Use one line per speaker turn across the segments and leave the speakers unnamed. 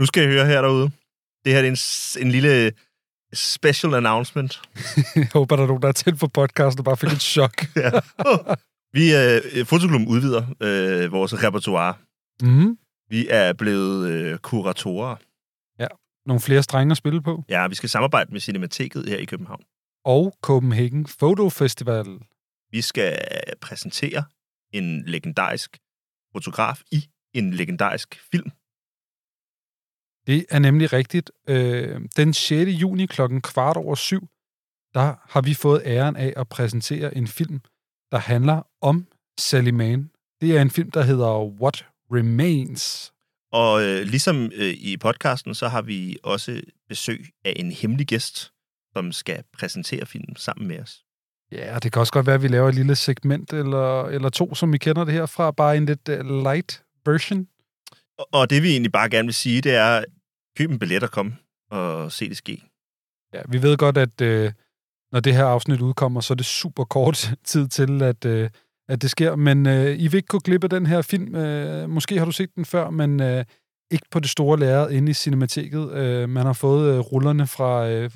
Nu skal I høre her derude. Det her det er en, s- en lille special announcement.
Jeg håber, der er nogen, der er tændt på podcasten og bare fik et chok.
Ja. vi, øh, Fotoklubben udvider øh, vores repertoire.
Mm.
Vi er blevet øh, kuratorer.
Nogle flere strenge at spille på.
Ja, vi skal samarbejde med Cinemateket her i København.
Og Copenhagen Photo Festival.
Vi skal præsentere en legendarisk fotograf i en legendarisk film.
Det er nemlig rigtigt. Øh, den 6. juni klokken kvart over syv, der har vi fået æren af at præsentere en film, der handler om Sally Mann. Det er en film, der hedder What Remains.
Og øh, ligesom øh, i podcasten, så har vi også besøg af en hemmelig gæst, som skal præsentere filmen sammen med os.
Ja, og det kan også godt være, at vi laver et lille segment eller, eller to, som I kender det herfra. Bare en lidt øh, light version.
Og- Og det vi egentlig bare gerne vil sige, det er, køb en billet og kom og se det ske.
Ja, vi ved godt, at øh, når det her afsnit udkommer, så er det super kort tid til, at, øh, at det sker. Men øh, I vil ikke gå glip af den her film. Øh, måske har du set den før, men øh, ikke på det store lærred inde i Cinemateket. Øh, man har fået øh, rullerne fra øh,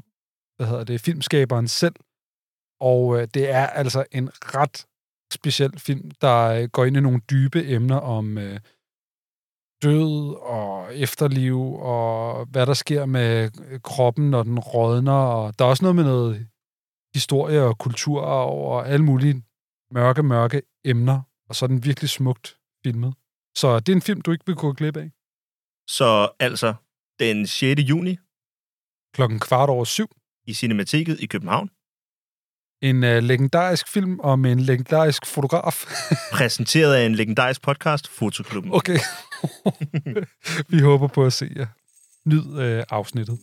hvad hedder det, filmskaberen selv. Og øh, det er altså en ret speciel film, der øh, går ind i nogle dybe emner om øh, død og efterliv, og hvad der sker med kroppen, når den rådner. Og der er også noget med noget historie og kultur og alle mulige mørke, mørke emner. Og så er den virkelig smukt filmet. Så det er en film, du ikke vil gå glip af.
Så altså, den 6. juni
Klokken kvart over syv.
i Cinemateket i København,
En øh, legendarisk film om en legendarisk fotograf.
præsenteret af en legendarisk podcast, Fotoklubben.
okay. Vi håber på at se jer. Nyd øh, afsnittet.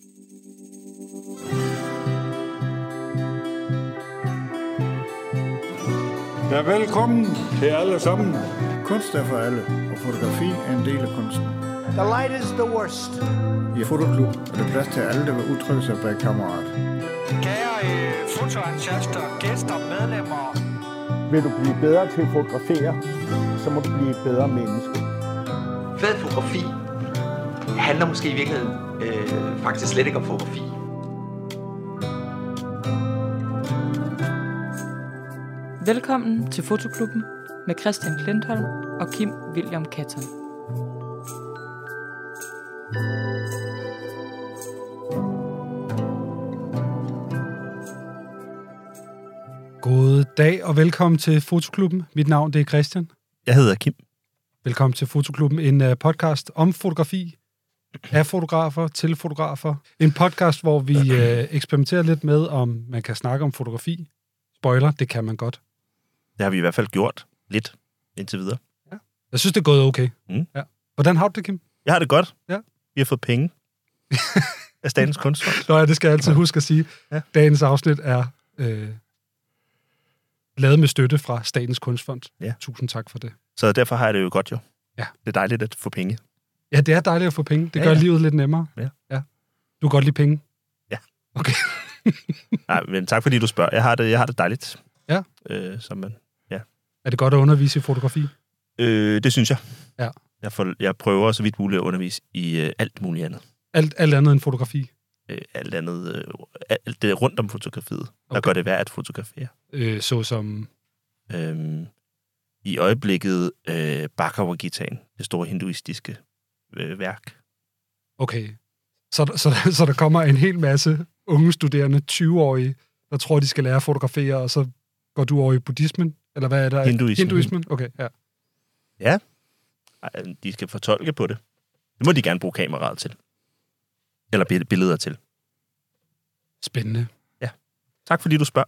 Ja, velkommen til alle sammen.
Kunst er for alle, og fotografi er en del af kunsten.
The light is the worst.
I Fotoklub er der plads til alle, der vil udtrykke sig bag kammerat.
Kære øh, fotoentusiaster, gæster, medlemmer.
Vil du blive bedre til at fotografere, så må du blive et bedre menneske.
Fed fotografi handler måske i virkeligheden øh, faktisk slet ikke om fotografi.
Velkommen til Fotoklubben med Christian Klintholm og Kim William Katton.
God dag og velkommen til Fotoklubben. Mit navn det er Christian.
Jeg hedder Kim.
Velkommen til Fotoklubben, en uh, podcast om fotografi, af fotografer, til fotografer. En podcast, hvor vi uh, eksperimenterer lidt med, om man kan snakke om fotografi. Spoiler, det kan man godt.
Det har vi i hvert fald gjort lidt indtil videre.
Jeg synes, det er gået okay.
Mm.
Ja. Hvordan har du det, Kim?
Jeg har det godt.
Ja.
Vi har fået penge af Statens Kunstfond.
Nå ja, det skal jeg altid huske at sige.
Ja.
Ja. Dagens afsnit er øh, lavet med støtte fra Statens Kunstfond.
Ja.
Tusind tak for det.
Så derfor har jeg det jo godt jo.
Ja.
Det er dejligt at få penge.
Ja, det er dejligt at få penge. Det
Ja,
gør
ja.
livet lidt nemmere.
Ja.
ja. Du kan godt lide penge.
Nej, men tak fordi du spørger. Jeg har det, jeg har det dejligt.
Ja.
Øh, som man.
Er det godt at undervise i fotografi?
Øh, det synes jeg.
Ja.
Jeg, får, jeg prøver så vidt muligt at undervise i øh, alt muligt andet.
Alt, alt andet end fotografi?
Øh, alt andet. Øh, alt det rundt om fotografiet. Okay. Der
Okay.
gør det værd at fotografere.
øh, såsom...
Øhm, I øjeblikket øh, Bhagavad-gitaen, det store hinduistiske øh, værk.
Okay. Så, der- så, der- så der kommer en hel masse unge studerende, 20-årige, der tror, de skal lære at fotografere, og så går du over i buddhismen? Eller hvad er der?
Hinduismen.
Hinduismen? Okay, ja.
Ej, de skal fortolke på det. Det må de gerne bruge kameraet til. Eller bill- billeder til.
Spændende.
Tak fordi du spørger.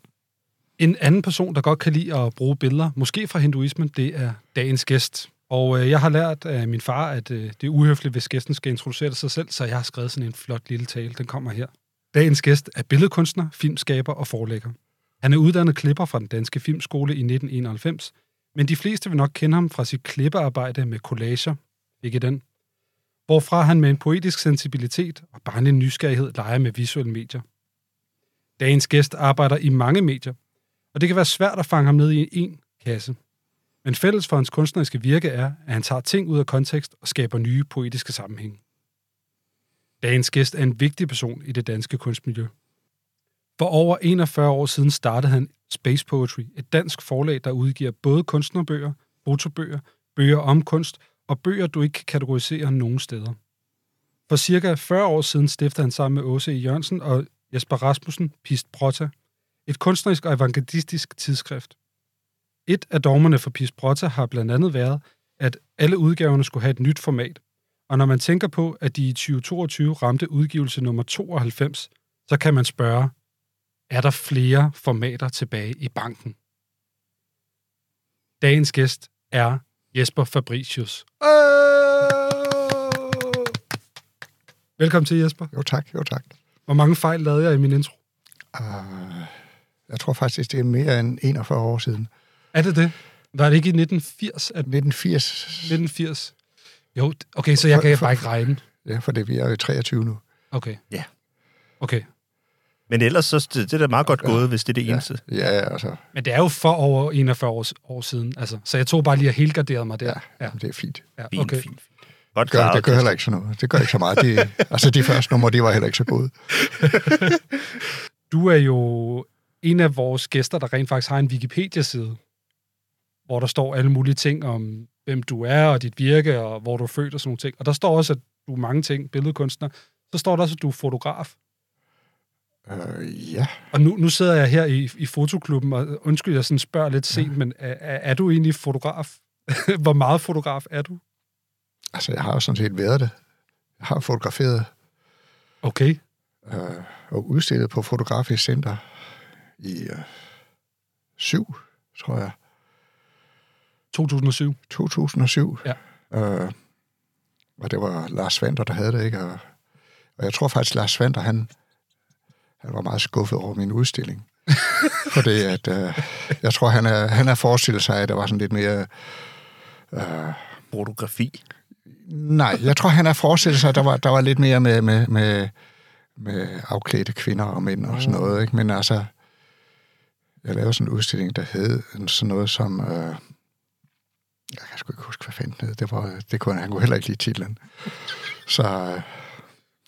En anden person, der godt kan lide at bruge billeder, måske fra hinduismen, det er dagens gæst. Og øh, jeg har lært af min far, at øh, det er uhøfligt, hvis gæsten skal introducere sig selv, så jeg har skrevet sådan en flot lille tale. Den kommer her. Dagens gæst er billedkunstner, filmskaber og forlægger. Han er uddannet klipper fra den danske filmskole i 1991, men de fleste vil nok kende ham fra sit klippearbejde med collager. Ikke den? Hvorfra han med en poetisk sensibilitet og barnlig nysgerrighed leger med visuelle medier. Dagens gæst arbejder i mange medier, og det kan være svært at fange ham ned i en kasse. Men fælles for hans kunstneriske virke er, at han tager ting ud af kontekst og skaber nye poetiske sammenhænge. Dagens gæst er en vigtig person i det danske kunstmiljø. For over 41 år siden startede han Space Poetry, et dansk forlag, der udgiver både kunstnerbøger, fotobøger, bøger om kunst og bøger, du ikke kan kategorisere nogen steder. For cirka 40 år siden stiftede han sammen med Åse E. Jørgensen og Jesper Rasmussen Pist Protta, et kunstnerisk og avantgardistisk tidsskrift. Et af dogmerne for Pist Protta har blandt andet været, at alle udgaverne skulle have et nyt format, og når man tænker på, at de i 2022 ramte udgivelse nummer 92, så kan man spørge, er der flere formater tilbage i banken? Dagens gæst er Jesper Fabricius. Øh! Velkommen til, Jesper.
Jo tak, jo tak.
Hvor mange fejl lavede jeg i min intro?
Uh, jeg tror faktisk, det er mere end 41 år siden.
Er det det? Var det ikke i 1980? At
1980,
1980? Jo, d- okay, så jeg kan bare ikke regne.
ja, for det, vi er jo i 23 nu.
Okay.
Ja.
Okay.
Men ellers så det, det er da meget godt gået, hvis det er det eneste.
Ja, ja, altså,
Men det er jo for over 41 år, år siden, altså. Så jeg tog bare lige og helgarderet mig der.
ja, ja. det er fint.
ja.
Fint,
Okay.
fint, fint. Godt
Gør,
klaret.
det gør heller ikke sådan noget. Det gør ikke så meget. Det, altså, de første numre, de var heller ikke så gode.
Du er jo en af vores gæster, der rent faktisk har en Wikipedia-side, hvor der står alle mulige ting om, hvem du er og dit virke, og hvor du er født og sådan nogle ting. Og der står også, at du er mange ting, billedkunstner. Så står der også, at du er fotograf.
Uh, ja,
Og nu, nu sidder jeg her i, i fotoklubben, og undskyld, jeg sådan spørger lidt sent, men er, er er du egentlig fotograf? Hvor meget fotograf er du?
altså, jeg har jo sådan set været det. Jeg har fotograferet
Okay.
øh, og udstillet på Fotografisk Center i øh, syv, tror jeg,
2007.
2007.
Ja.
Øh, og det var Lars Svander, der havde det, ikke? Og, og jeg tror faktisk, Lars Svander, han, han var meget skuffet over min udstilling. Fordi at, øh, jeg tror, han er, han har forestillet sig, at der var sådan lidt mere...
Fotografi.
Nej, jeg tror, han har forestillet sig, at der var, der var lidt mere med, med, med, med afklædte kvinder og mænd og
Mm.
sådan noget, ikke? Men altså, jeg lavede sådan en udstilling, der hed sådan noget som... Øh, jeg kan sgu ikke huske, hvad fanden det hed. det var. øh, Det kunne han, han kunne heller ikke lide titlen. Så øh,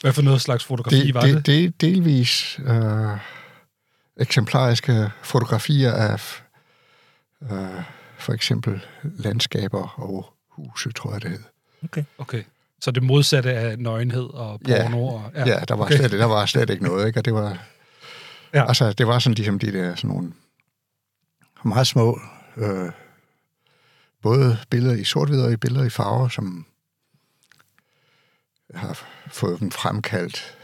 Hvad for noget slags fotografi
det,
var det?
det, det er delvis øh, eksemplariske fotografier af øh, for eksempel landskaber og huse, tror jeg det hed.
Okay. Så det modsatte af nøgenhed og
Ja.
porno? Og,
Ja, der var,
okay.
okay. slet, der var slet ikke noget, ikke? Og det var,
Ja.
ja. altså, det var sådan ligesom de der sådan nogle meget små, øh, både billeder i sort og i billeder i farver, som jeg har fået dem fremkaldt.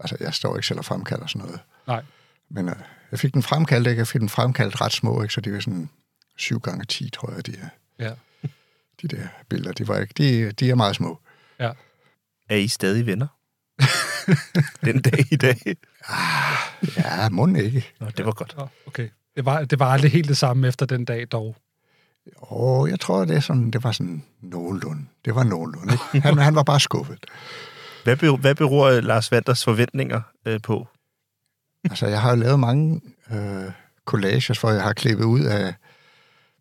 Altså, jeg står ikke selv og fremkalder sådan noget.
Nej.
Men øh, jeg fik den fremkaldt, ikke? Jeg fik den fremkaldt ret små, ikke? Så det er sådan 7 gange 10, tror jeg, de er.
Ja.
De der billeder, de var ikke, de, de er meget små.
Er I stadig venner? Den dag i dag.
Ja, mund ikke.
Nå, det var godt.
Nå, Okay. Det var, det var aldrig helt det samme efter den dag dog.
Og jeg tror, det, er sådan, det var sådan nogenlunde. Det var nogenlunde. Ikke? Han, han var bare skuffet.
Hvad, be, hvad beror øh, Lars Vanders forventninger øh, på?
Altså, jeg har jo lavet mange øh, collages, hvor jeg har klippet ud af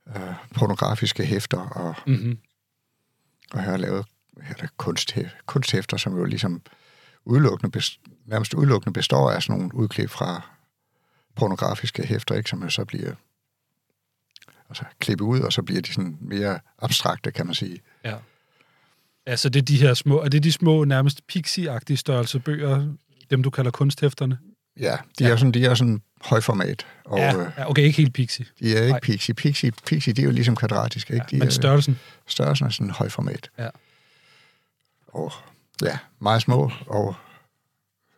øh, pornografiske hæfter, og,
Mm-hmm.
og jeg har lavet her er der kunsthæ- kunsthæfter, som jo ligesom udelukkende bes- nærmest udelukkende består af sådan nogle udklip fra pornografiske hæfter, ikke? som jo så bliver altså, klippet ud, og så bliver de sådan mere abstrakte, kan man sige.
Ja. Altså, det er de her små, er det de små, nærmest pixie-agtige størrelse bøger, dem du kalder kunsthæfterne?
Ja, de ja. er sådan, de er sådan højformat, og
ja,
øh,
ja, okay, ikke helt pixie,
De er ikke
Nej.
Nej. pixie. Pixie, pixie, de er jo ligesom kvadratiske, ikke?
ja,
De
men
er,
størrelsen.
størrelsen er sådan højformat.
Ja.
Og ja, meget små og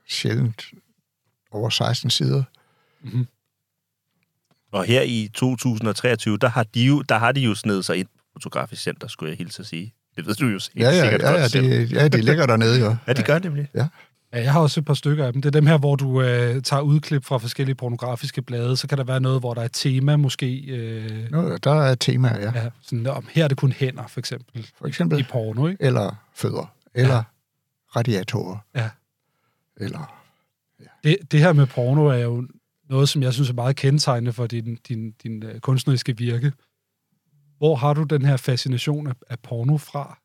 sjældent over 16 sider.
Og her i 2023, der har de jo, der har de jo snedet sig ind på Fotografisk Center, skulle jeg hilse at sige. Det ved du jo helt
Ja, ja,
sikkert
ja,
godt
ja,
selv.
det, ja, de ligger dernede jo.
Ja, de gør det nemlig.
Ja, jeg har også et par stykker af dem. Det er dem her, hvor du øh, tager udklip fra forskellige pornografiske blade. Så kan der være noget, hvor der er et tema måske. Øh,
Nå, der er temaer, ja.
ja, sådan, om her er det kun hænder, for eksempel.
For
I
eksempel,
porno, ikke?
eller fødder, eller ja. radiatorer.
Ja.
Eller,
det, det her med porno er jo noget, som jeg synes er meget kendetegnende for din, din, din øh, kunstneriske virke. Hvor har du den her fascination af, af porno fra?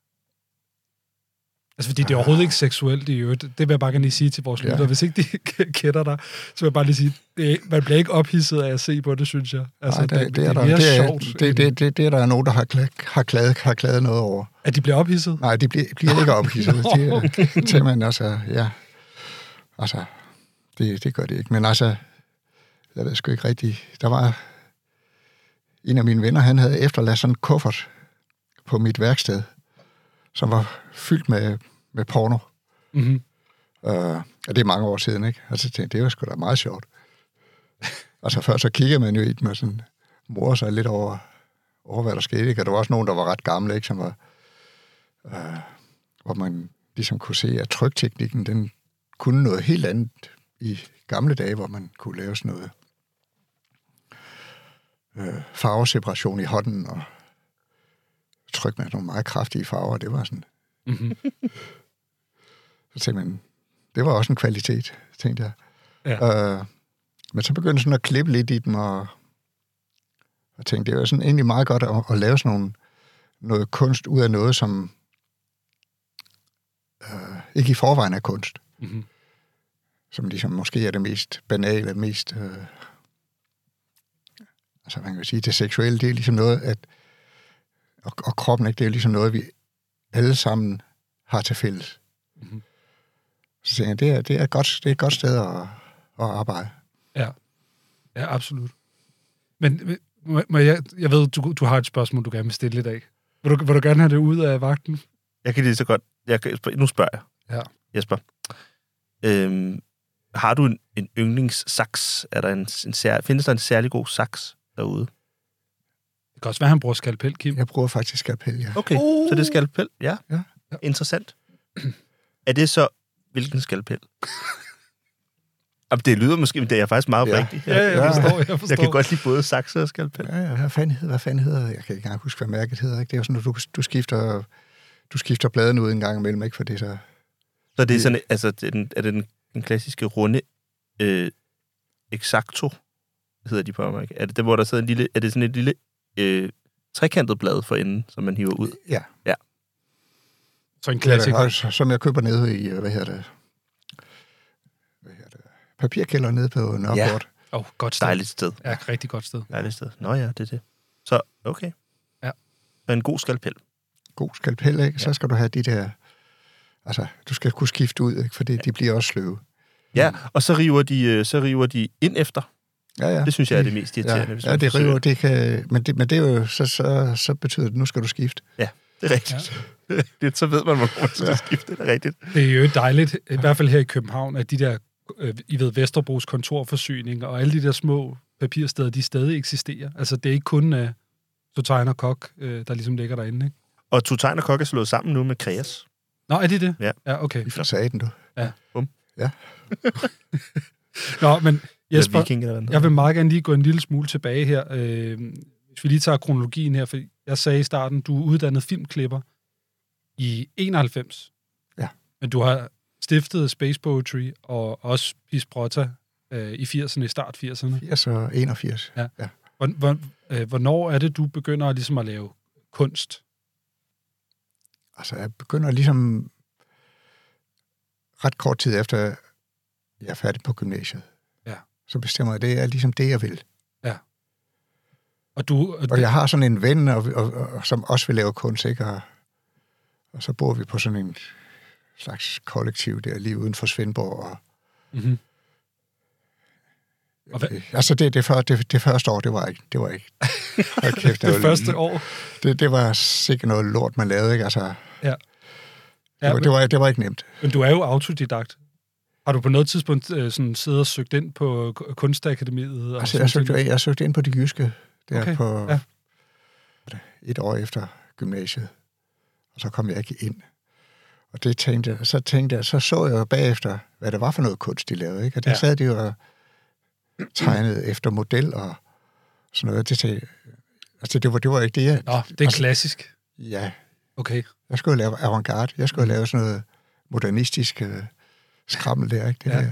Altså, fordi det er overhovedet ikke seksuelt i øvrigt. Det vil jeg bare gerne lige sige til vores
Ja.
lyttere. Hvis ikke de kætter dig, så vil jeg bare lige sige, det er, ikke- man bliver ikke ophidset af at se på det, synes jeg. Altså,
Nej, det, det, er der,
mere
det, er,
sjovt,
det,
end-
det, det, det er der nogen, der har, kla- har, klaget, har klaget noget over.
at de bliver ophidset.
Nej, de bliver, bliver ikke ophidset. De er simpelthen, altså, ja. Altså, det, det gør de ikke. Men altså, jeg ved sgu ikke rigtigt. Der var en af mine venner, han havde efterladt sådan en kuffert på mit værksted, som var fyldt med, med porno.
Mm-hmm.
Øh, og det er mange år siden, ikke? Og så tænkte jeg, det var sgu da meget sjovt. altså før så kiggede man jo i dem og sådan morer sig lidt over, over, hvad der skete, ikke? Og der var også nogen, der var ret gamle, ikke? Som var, øh, hvor man ligesom kunne se, at trykteknikken, den kunne noget helt andet i gamle dage, hvor man kunne lave sådan noget øh, farveseparation i hånden og trykke med nogle meget kraftige farver. Det var sådan...
Mhm.
så tænkte man, det var også en kvalitet, tænkte jeg. Ja. Øh, men så begyndte jeg sådan at klippe lidt i dem, og, og tænkte, det var sådan egentlig meget godt at, at lave sådan nogle, noget kunst ud af noget, som øh, ikke i forvejen er kunst.
Mhm.
Mm-hmm. Som ligesom måske er det mest banale, mest... Øh, altså man kan sige, det seksuelle, det er ligesom noget, at... Og, og kroppen, ikke? Det er jo ligesom noget, vi alle sammen har til fælles. Så tænkte jeg, det er, det er, et, godt, det er et godt sted at, at arbejde.
Ja, absolut. Men øh, må, må jeg, jeg ved, du, du har et spørgsmål, du gerne vil stille i dag. Vil du, vil du gerne have det ud af vagten?
Jeg kan lige så godt... Jeg kan, nu spørger jeg.
Ja.
Jesper. Øhm, har du en, en yndlingssaks? Er der en, en sær, findes der en særlig god saks derude?
Det kan også være, han bruger skalpel, Kim.
Jeg bruger faktisk skalpel, ja.
Okay, uh. så det er skalpel. Ja.
Ja.
ja. Interessant. er det så... Hvilken skalpel? Jamen, det lyder måske, men det er faktisk meget
Ja.
ja. rigtigt.
Ja, jeg forstår, jeg forstår.
Jeg kan godt lide både sakse og skalpel.
Ja, ja, hvad fanden hedder, hvad fanden hedder, jeg kan ikke engang huske, hvad mærket hedder, ikke? Det er jo sådan, at du, du skifter, du skifter bladene ud en gang imellem, ikke? For det er så,
Så det er sådan, altså, det er den, er det den, den klassiske runde øh, exacto, hedder de på Amerika? Er det den, hvor der sidder en lille, er det sådan et lille øh, trekantet blad for enden, som man hiver ud?
ja.
Så en
Det
klassiker.
er, også, som jeg køber nede i, øh, hvad hedder det, hvad hedder det, papirkælder nede på Nørreport.
Åh, oh, godt sted.
Dejligt sted.
Ja, rigtig godt sted.
Dejligt sted. Nå ja, det er det. Så, okay.
Ja.
Så en god skalpel.
God skalpel, ikke? Så skal du have de der, altså, du skal kunne skifte ud, ikke? For det, de bliver også sløve.
Ja, og så river de, øh, så river de ind efter.
Ja, ja.
Det synes jeg er det mest irriterende. hvis
Ja, ja
man
det
forsøger.
river, det kan, men, det, men det er jo, så, så, så betyder det, at nu skal du skifte.
Det er rigtigt. Ja. det, så ved man, hvornår man skal skifte. Det er rigtigt.
Det er jo dejligt, i hvert fald her i København, at de der, øh, I ved, Vesterbros kontorforsyning og alle de der små papirsteder, de stadig eksisterer. Altså, det er ikke kun øh, du tegner kok, øh, der ligesom ligger derinde, ikke?
Og Tutain og Kok er slået sammen nu med Kreas.
Nå, er det det?
Ja.
Ja, okay.
I facaden, du.
Nå, men
Eller
Jesper,
Viking eller hvad den hedder.
Jeg vil meget gerne lige gå en lille smule tilbage her. Øh, hvis vi lige tager kronologien her, for jeg sagde i starten, du er uddannet filmklipper i 91.
Ja.
Men du har stiftet Space Poetry og også Pisprotta øh, i 80'erne, i start 80'erne.
80 og 81.
Hvor- hvor- øh, Hvornår er det, du begynder at, ligesom at lave kunst?
Altså, jeg begynder ligesom ret kort tid efter, jeg er færdig på gymnasiet.
Ja.
Så bestemmer jeg, det er ligesom det, jeg vil.
Og du, og
Og jeg har sådan en ven, og, og, og, som også vil lave kunst, ikke? Og, og så bor vi på sådan en slags kollektiv der, lige uden for Svendborg. Og,
Mhm. Og
og
hvad-
hvad? Altså, det, det, første, det, det første år, det var ikke... Det var ikke. Hold kæft, jeg
det
var-
første år...
det, det var sikkert noget lort, man lavede, ikke? Altså, det,
Ja,
var, det,
men,
var, det var ikke nemt.
men du er jo autodidakt. Har du på noget tidspunkt øh, sådan, siddet og søgt ind på øh, Kunstakademiet? Og
Altså,
sådan
jeg
ting?
søgte, jeg, jeg søgte ind på det jyske, der
Okay,
okay, på
ja.
ja. et år efter gymnasiet. Og så kom jeg ikke ind. Og det tænkte jeg, så tænkte jeg, så så jeg jo bagefter, hvad det var for noget kunst, de lavede. Ikke? Og der
Ja.
ja. sad de jo og tegnede efter model og sådan noget. Det, tænkte, jeg- altså, det, var, det var ikke det, jeg...
Nå, det er klassisk.
Ja,
Okay.
jeg skulle jo lave avantgarde. Jeg
Mm.
skulle jo lave sådan noget modernistisk øh, skrammel der. Ikke? Det,
Ja.
ja.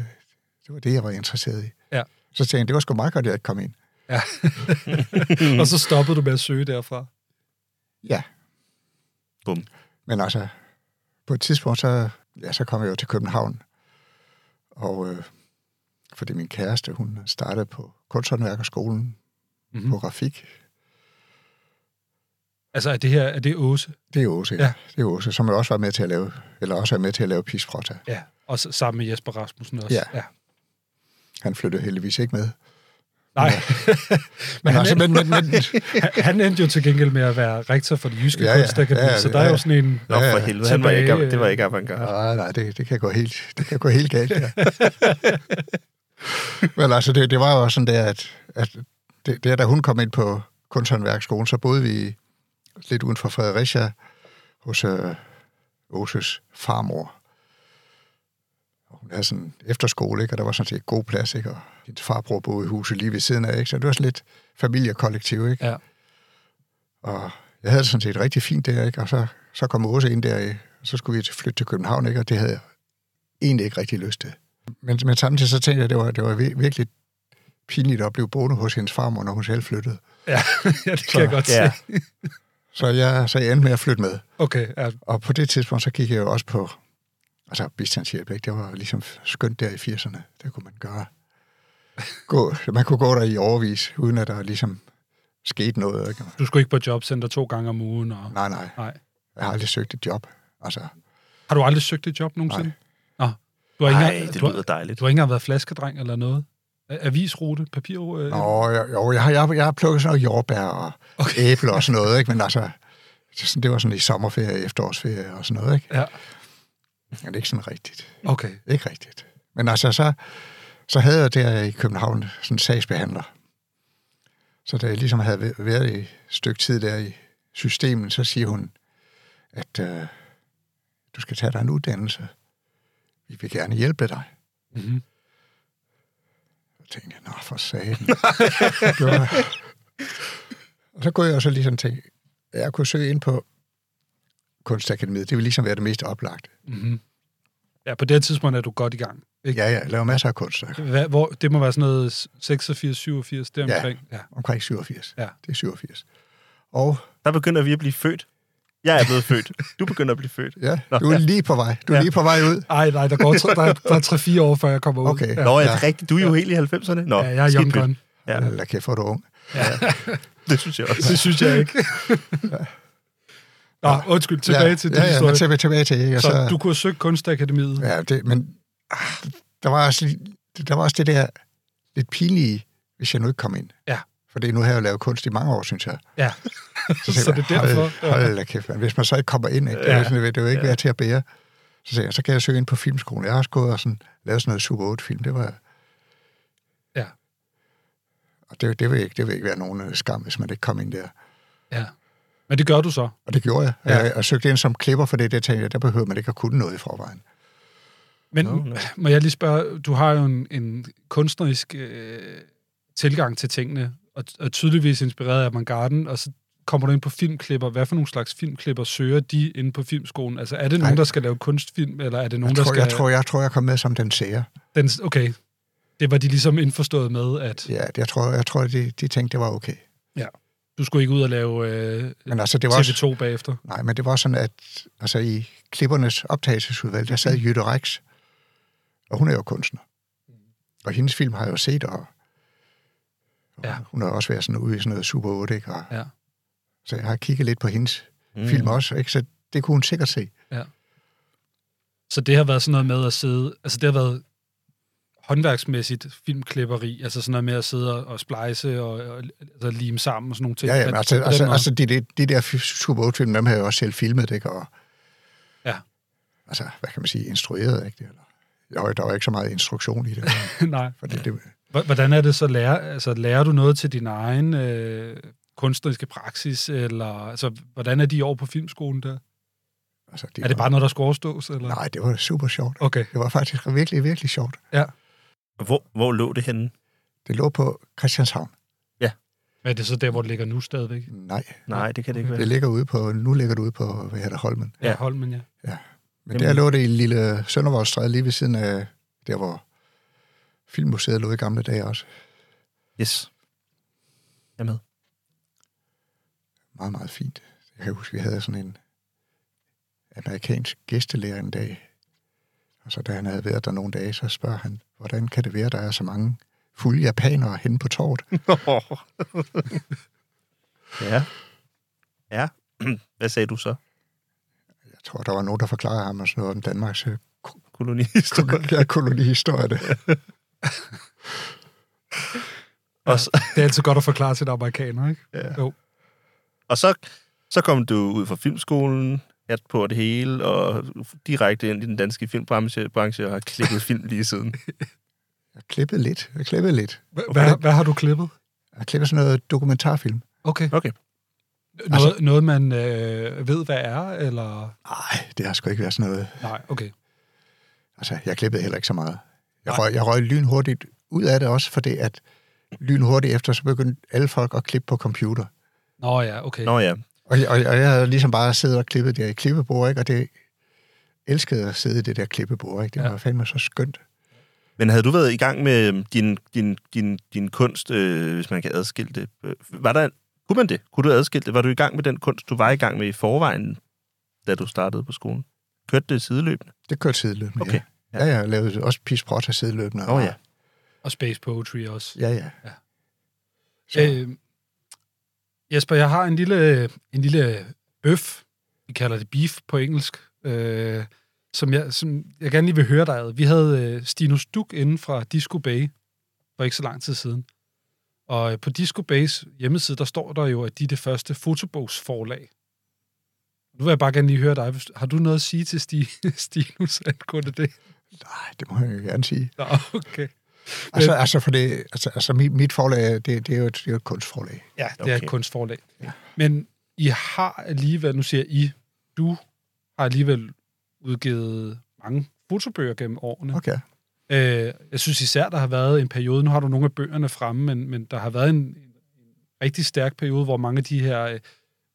det var det, jeg var interesseret i.
Ja.
Så tænkte jeg, det var sgu meget godt, at jeg ikke kom ind.
Ja. og så stoppede du med at søge derfra.
Ja.
Bum.
Men altså, på et tidspunkt, så, ja, så kom jeg jo til København. Og øh, fordi min kæreste, hun startede på kunsthåndværkerskolen
Mhm.
mm-hmm. på grafik.
Altså, er det her, er det Åse?
Det er Åse, ja.
Ja.
ja. Det er Åse, som jo også var med til at lave, eller også er med til at lave Pisfrotta.
Ja. Og s- sammen med Jesper Rasmussen også.
Ja.
ja.
Han flyttede heldigvis ikke med.
Nej. men,
Men,
han
altså,
endte,
men, men, men,
han endte jo til gengæld med at være rektor for det jyske ja,
Ja, ja.
kunstakademi, ja,
Ja,
ja,
ja,
så der er
ja.
jo sådan en...
Nå, for helvede, han var
Tilbage,
ikke,
øh,
det var ikke avantgarde.
Nej, nej, det, det, kan gå helt, det kan gå helt galt. Ja. Men altså, det, det var jo også sådan der, at, at det, det, da hun kom ind på kunsthåndværksskolen, så boede vi lidt uden for Fredericia hos øh, Åses farmor. Og hun havde sådan en efterskole, ikke? og der var sådan set god plads, ikke? og hendes farbror boede i huset lige ved siden af, ikke? så det var sådan lidt familiekollektiv, ikke?
Ja.
Og jeg havde det sådan set rigtig fint der, ikke? Og så, så kom Åse ind der, ikke? og så skulle vi til- flytte til København, ikke? Og det havde jeg egentlig ikke rigtig lyst til. Men, men samtidig så tænkte jeg, at det var, det var vir- virkelig pinligt at blive boende hos hendes farmor, når hun selv flyttede.
ja, det kan jeg godt se.
Ja.
Så jeg, så jeg endte med at flytte med.
Okay, ja,
Og på det tidspunkt, så gik jeg jo også på altså bistandshjælp. Ikke? Det var ligesom skønt der i 80'erne. Det kunne man gøre. Gå, man kunne gå der i overvis, uden at der ligesom skete noget. Ikke?
du skulle ikke på jobcenter to gange om ugen, og...
Nej, nej.
Nej.
Jeg har aldrig søgt et job. Altså,
Har du aldrig søgt et job nogensinde? Nej. Nå, du har, ikke
Nej,
engang,
det
du,
lyder
har,
dejligt.
du har ikke engang været flaskedreng eller noget? A- Avisrute, papir... Øh,
Nå, jeg, jo, jeg har, jeg, har- jeg har plukket sådan noget jordbær og okay. æbler og sådan noget, ikke? men altså, det, er sådan- det var sådan i sommerferie, efterårsferie og sådan noget, ikke?
Ja.
Men det er ikke sådan rigtigt.
Okay,
Ikke rigtigt. Men altså, så, så havde jeg der i København sådan en sagsbehandler. Så da jeg ligesom havde væ- været i et stykke tid der i systemet, så siger hun, at øh, du skal tage dig en uddannelse. Vi vil gerne hjælpe dig.
Mhm.
Så tænkte jeg, nå for satan. Det var- og så kunne jeg jo så ligesom tænke, at jeg kunne søge ind på Kunstakademiet. Det ville ligesom være det mest oplagte.
ja, på det her tidspunkt er du godt i gang. Ikke?
Ja, ja, jeg laver masser af kunst.
Hvad, hvor, det må være sådan noget 86, 87, deromkring. Ja. ja.
Omkring 87.
Ja.
Det er 87. Og
Der begynder vi at blive født. Jeg er blevet født. Du begynder at blive født.
ja,
Nå,
du er lige på vej. Du er
Ja.
lige på vej ud.
Ej, nej, der går tre- der, er- der er 3-4 år, før jeg kommer ud.
Okay.
Ja,
Nå, er
Ja.
det rigtigt? Du er jo helt i 90'erne. Nå,
ja jeg er
skidt
young
pyt.
gun.
Ja,
Eller kæft, hvor er du ung.
det synes jeg også.
Det synes jeg ikke. Nå, undskyld, tilbage
ja,
til
det.
din
Ja, ja,
historie.
men tilbage, tilbage til. Ikke? Og
så,
så,
du kunne have søgt Kunstakademiet. Ja.
Ja, det, men ah, der var, også, lige- der var også det der lidt pinlige, hvis jeg nu ikke kom ind.
Ja.
Fordi nu har jeg jo lavet kunst i mange år, synes jeg.
ja.
Så, tænker
Så det er
jeg,
derfor, ja.
Hold, hold da kæft, man. hvis man så ikke kommer ind, ikke? Det,
Ja.
er jo sådan, det vil jo ikke ja. være til at bære. Så, tænker jeg, så kan jeg søge ind på filmskolen. Jeg har også gået og sådan, lavet sådan noget Super 8-film. Det var...
Ja.
Og det, det, vil ikke, det vil ikke være nogen øh, skam, hvis man ikke kom ind der.
ja. Men det gør du så.
Og det gjorde jeg.
Ja.
Ja. Jeg, jeg søgte ind som klipper, for det der tænkte jeg, der behøver man ikke at kunne noget i forvejen.
Men
Nå, nå.
må jeg lige spørge, du har jo en, en kunstnerisk øh, tilgang til tingene, og, og tydeligvis inspireret af avantgarden, og så kommer du ind på filmklipper. Hvad for nogle slags filmklipper søger de inde på filmskolen? Altså, er det nogen,
Nej.
der skal lave kunstfilm, eller er det nogen,
Jeg tror,
der skal...
jeg, tror, jeg tror, jeg kom med som den sære.
Den, okay, det var de ligesom indforstået med, at
Ja, det- jeg tror, jeg tror de, de tænkte, det var okay.
du skulle ikke ud og lave øh,
Men altså, det var også,
TV2 bagefter.
nej, men det var sådan, at altså, i klippernes optagelsesudvalg, der sad Jytte Rex, og hun er jo kunstner. Og hendes film har jeg jo set, og, og
Ja.
ja. hun har også været sådan ude i sådan noget Super 8, ikke? Og,
Ja.
Så jeg har kigget lidt på hendes mm. film også, ikke? Så det kunne hun sikkert se.
Så det har været sådan noget med at sidde, altså det har været håndværksmæssigt filmklipperi, altså sådan noget med at sidde og, og splice og, og altså lime sammen og sådan nogle ting.
Ja, ja, men
At-
altså,
på den
altså,
måde.
altså de, de, de der fi- Super 8-film, dem har jeg jo også selv filmet, ikke? Og,
Ja.
Altså, hvad kan man sige, instrueret, ikke? det? Eller, jo, der var ikke så meget instruktion i det,
Nej.
for det, det,
H- Hvordan er det så, lærer, altså lærer du noget til din egen øh, kunstneriske praksis, eller altså, hvordan er de år på filmskolen der?
altså,
Er det
var,
bare noget, der skal overstås, eller?
Nej, det var super sjovt.
Okay.
Det var faktisk virkelig, virkelig sjovt.
Hvor, hvor lå det henne?
Det lå på Christianshavn.
Men er det så der, hvor det ligger nu stadigvæk?
Nej,
Nej, det kan det ikke
det
være.
ligger ude på, nu ligger det ude på, hvad hedder det, Holmen.
Ja.
Ja. Holmen, ja.
Men
Jamen.
der lå det i lille Søndervoldstræde, lige ved siden af der, hvor Filmmuseet lå i gamle dage også.
Yes. Jeg er med.
meget, meget fint. Jeg kan huske, vi havde sådan en, amerikansk gæstelærer en dag. Og så da han havde været der nogle dage, så spørger han, hvordan kan det være, der er så mange fulde japanere henne på torvet?
ja. Ja. Hvad sagde du så?
Jeg tror, der var nogen, der forklarede ham og sådan noget om Danmarks øh,
Kolonihistorie.
ja, kolonihistorie. Det.
Og, så,
Det er altid godt at forklare til en amerikaner, ikke?
Ja.
Jo.
og så, så kom du ud fra filmskolen, hat på det hele, og direkte ind i den danske filmbranche branche, og har klikket film lige siden.
Jeg klippede lidt. Jeg klippede lidt.
Hva- Hvad, hvad har du klippet?
Jeg klippede sådan noget dokumentarfilm.
Okay.
Okay.
Noget, altså, noget man øh, ved, hvad er, eller...
Nej, det har sgu ikke været sådan noget.
Nej, okay.
Altså, jeg klippede heller ikke så meget. Jeg
Nej.
røg, jeg røg lynhurtigt ud af det også, fordi at lynhurtigt efter, så begyndte alle folk at klippe på computer.
Nå ja, okay.
Nå ja.
Og, og, og jeg havde ligesom bare siddet og klippet der i klippebord, ikke? Og det elskede at sidde i det der klippebord, ikke? Det
Ja.
var fandme så skønt.
Men havde du været i gang med øhm, din, din, din, din kunst, øh, hvis man kan adskille det? Øh, Var der, kunne man det? Kunne du adskille det? Var du i gang med den kunst, du var i gang med i forvejen, da du startede på skolen? Kørte det sideløbende?
Det kørte sideløbende,
Okay.
ja. Ja, jeg lavede også Pis Protta sideløbende.
Nå ja.
Og space poetry også.
Ja, ja.
Ja.
Så, øh.
Øh, Jesper, jeg har en lille, en lille bøf, vi kalder det beef på engelsk, øh, som, jeg, som jeg gerne lige vil høre dig ad. Vi havde øh, Stinus Duk inden fra Disco Bay for ikke så lang tid siden. Og øh, på Disco Bays hjemmeside, der står der jo, at de er det første fotobogsforlag. Nu vil jeg bare gerne lige høre dig. Hvis- Har du noget at sige til Sti, Stinus angående det?
Nej, det må jeg jo gerne sige.
Nå, okay.
Altså, altså, for det, altså, altså mit, mit forlag, det, det, er jo et, det er jo et kunstforlag.
Ja, det okay. er
Okay.
et kunstforlag. Ja. Men I har alligevel, nu siger jeg I, du har alligevel udgivet mange fotobøger gennem årene.
Okay.
Okay. Øh, jeg synes især, der har været en periode, nu har du nogle af bøgerne fremme, men, men der har været en, en rigtig stærk periode, hvor mange af de her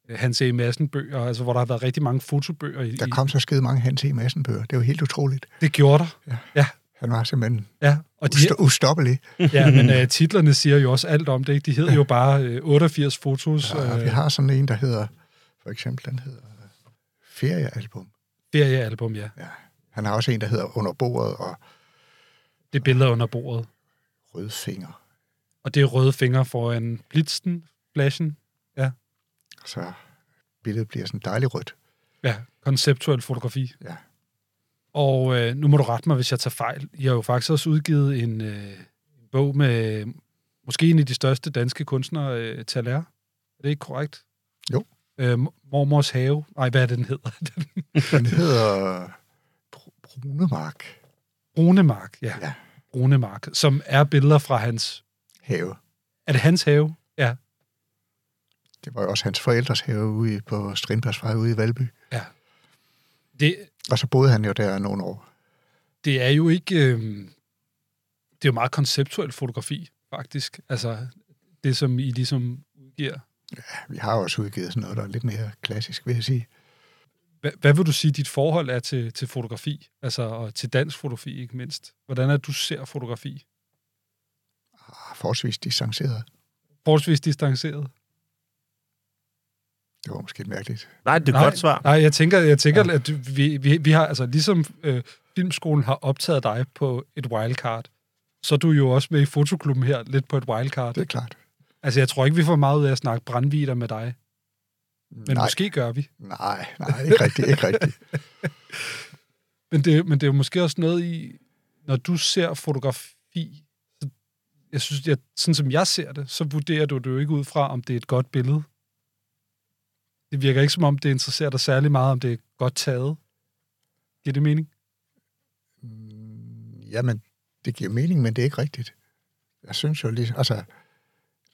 øh, Hans E. Madsen bøger, altså hvor der har været rigtig mange fotobøger i,
Der kom så skide mange Hans E. Madsen bøger. Det var helt utroligt.
i det gjorde der.
Han var simpelthen
Ja, og de,
usto- ustoppelig.
ja, men øh, titlerne siger jo også alt om det, ikke? De hedder jo bare øh, 88 fotos.
Og vi
Øh,
har sådan en, der hedder, for eksempel, den hedder øh, Feriealbum.
feriealbum, ja.
Han har også en, der hedder Under bordet og
Det er billeder under bordet.
Rødfinger.
Og det er røde fingre foran blitzen, flashen.
Så billedet bliver sådan dejligt rødt.
Ja, konceptuel fotografi.
Ja.
Og øh, nu må du rette mig, hvis jeg tager fejl. Jeg har jo faktisk også udgivet en øh, en bog med måske en af de største danske kunstnere, øh, Thaler. Er det ikke korrekt?
Jo.
Øh, Mormors have. Nej, hvad er det, den hedder?
Den hedder øh, Br- Brunemark
Brunemark, ja.
Ja.
Brunemark, som er billeder fra hans...
Have.
Er det hans have? Ja.
Det var jo også hans forældres have ude i- på Strindbergsvej ude i Valby.
Det,
Og så boede han jo der nogle år.
det er jo ikke... Øh, det er jo meget konceptuel fotografi, faktisk. Altså, det som I ligesom udgiver.
Ja, vi har også udgivet sådan noget, der er lidt mere klassisk, vil jeg sige.
Hva, hvad vil du sige, dit forhold er til, til fotografi? Altså, og til dansk fotografi, ikke mindst. Hvordan er det, du ser fotografi?
Ah, Forholdsvis distanceret.
Forholdsvis distanceret.
Det var måske et mærkeligt.
Nej, det er et godt svar.
Nej, jeg tænker, jeg tænker ja. at du- vi, vi, vi har, altså ligesom øh, Filmskolen har optaget dig på et wildcard, så er du jo også med i fotoklubben her, lidt på et wildcard.
Det er klart.
Altså, jeg tror ikke, vi får meget ud af at snakke brandvider med dig, men
nej,
måske gør vi.
nej, nej, ikke rigtigt, ikke rigtigt.
Men det, men det er jo måske også noget i, når du ser fotografi, så jeg synes, jeg, sådan som jeg ser det, så vurderer du det jo ikke ud fra, om det er et godt billede. Det virker ikke som om, det interesserer dig særlig meget, om det er godt taget. Giver det mening?
Mm, Jamen, det giver mening, men det er ikke rigtigt. Jeg synes jo lige, altså, der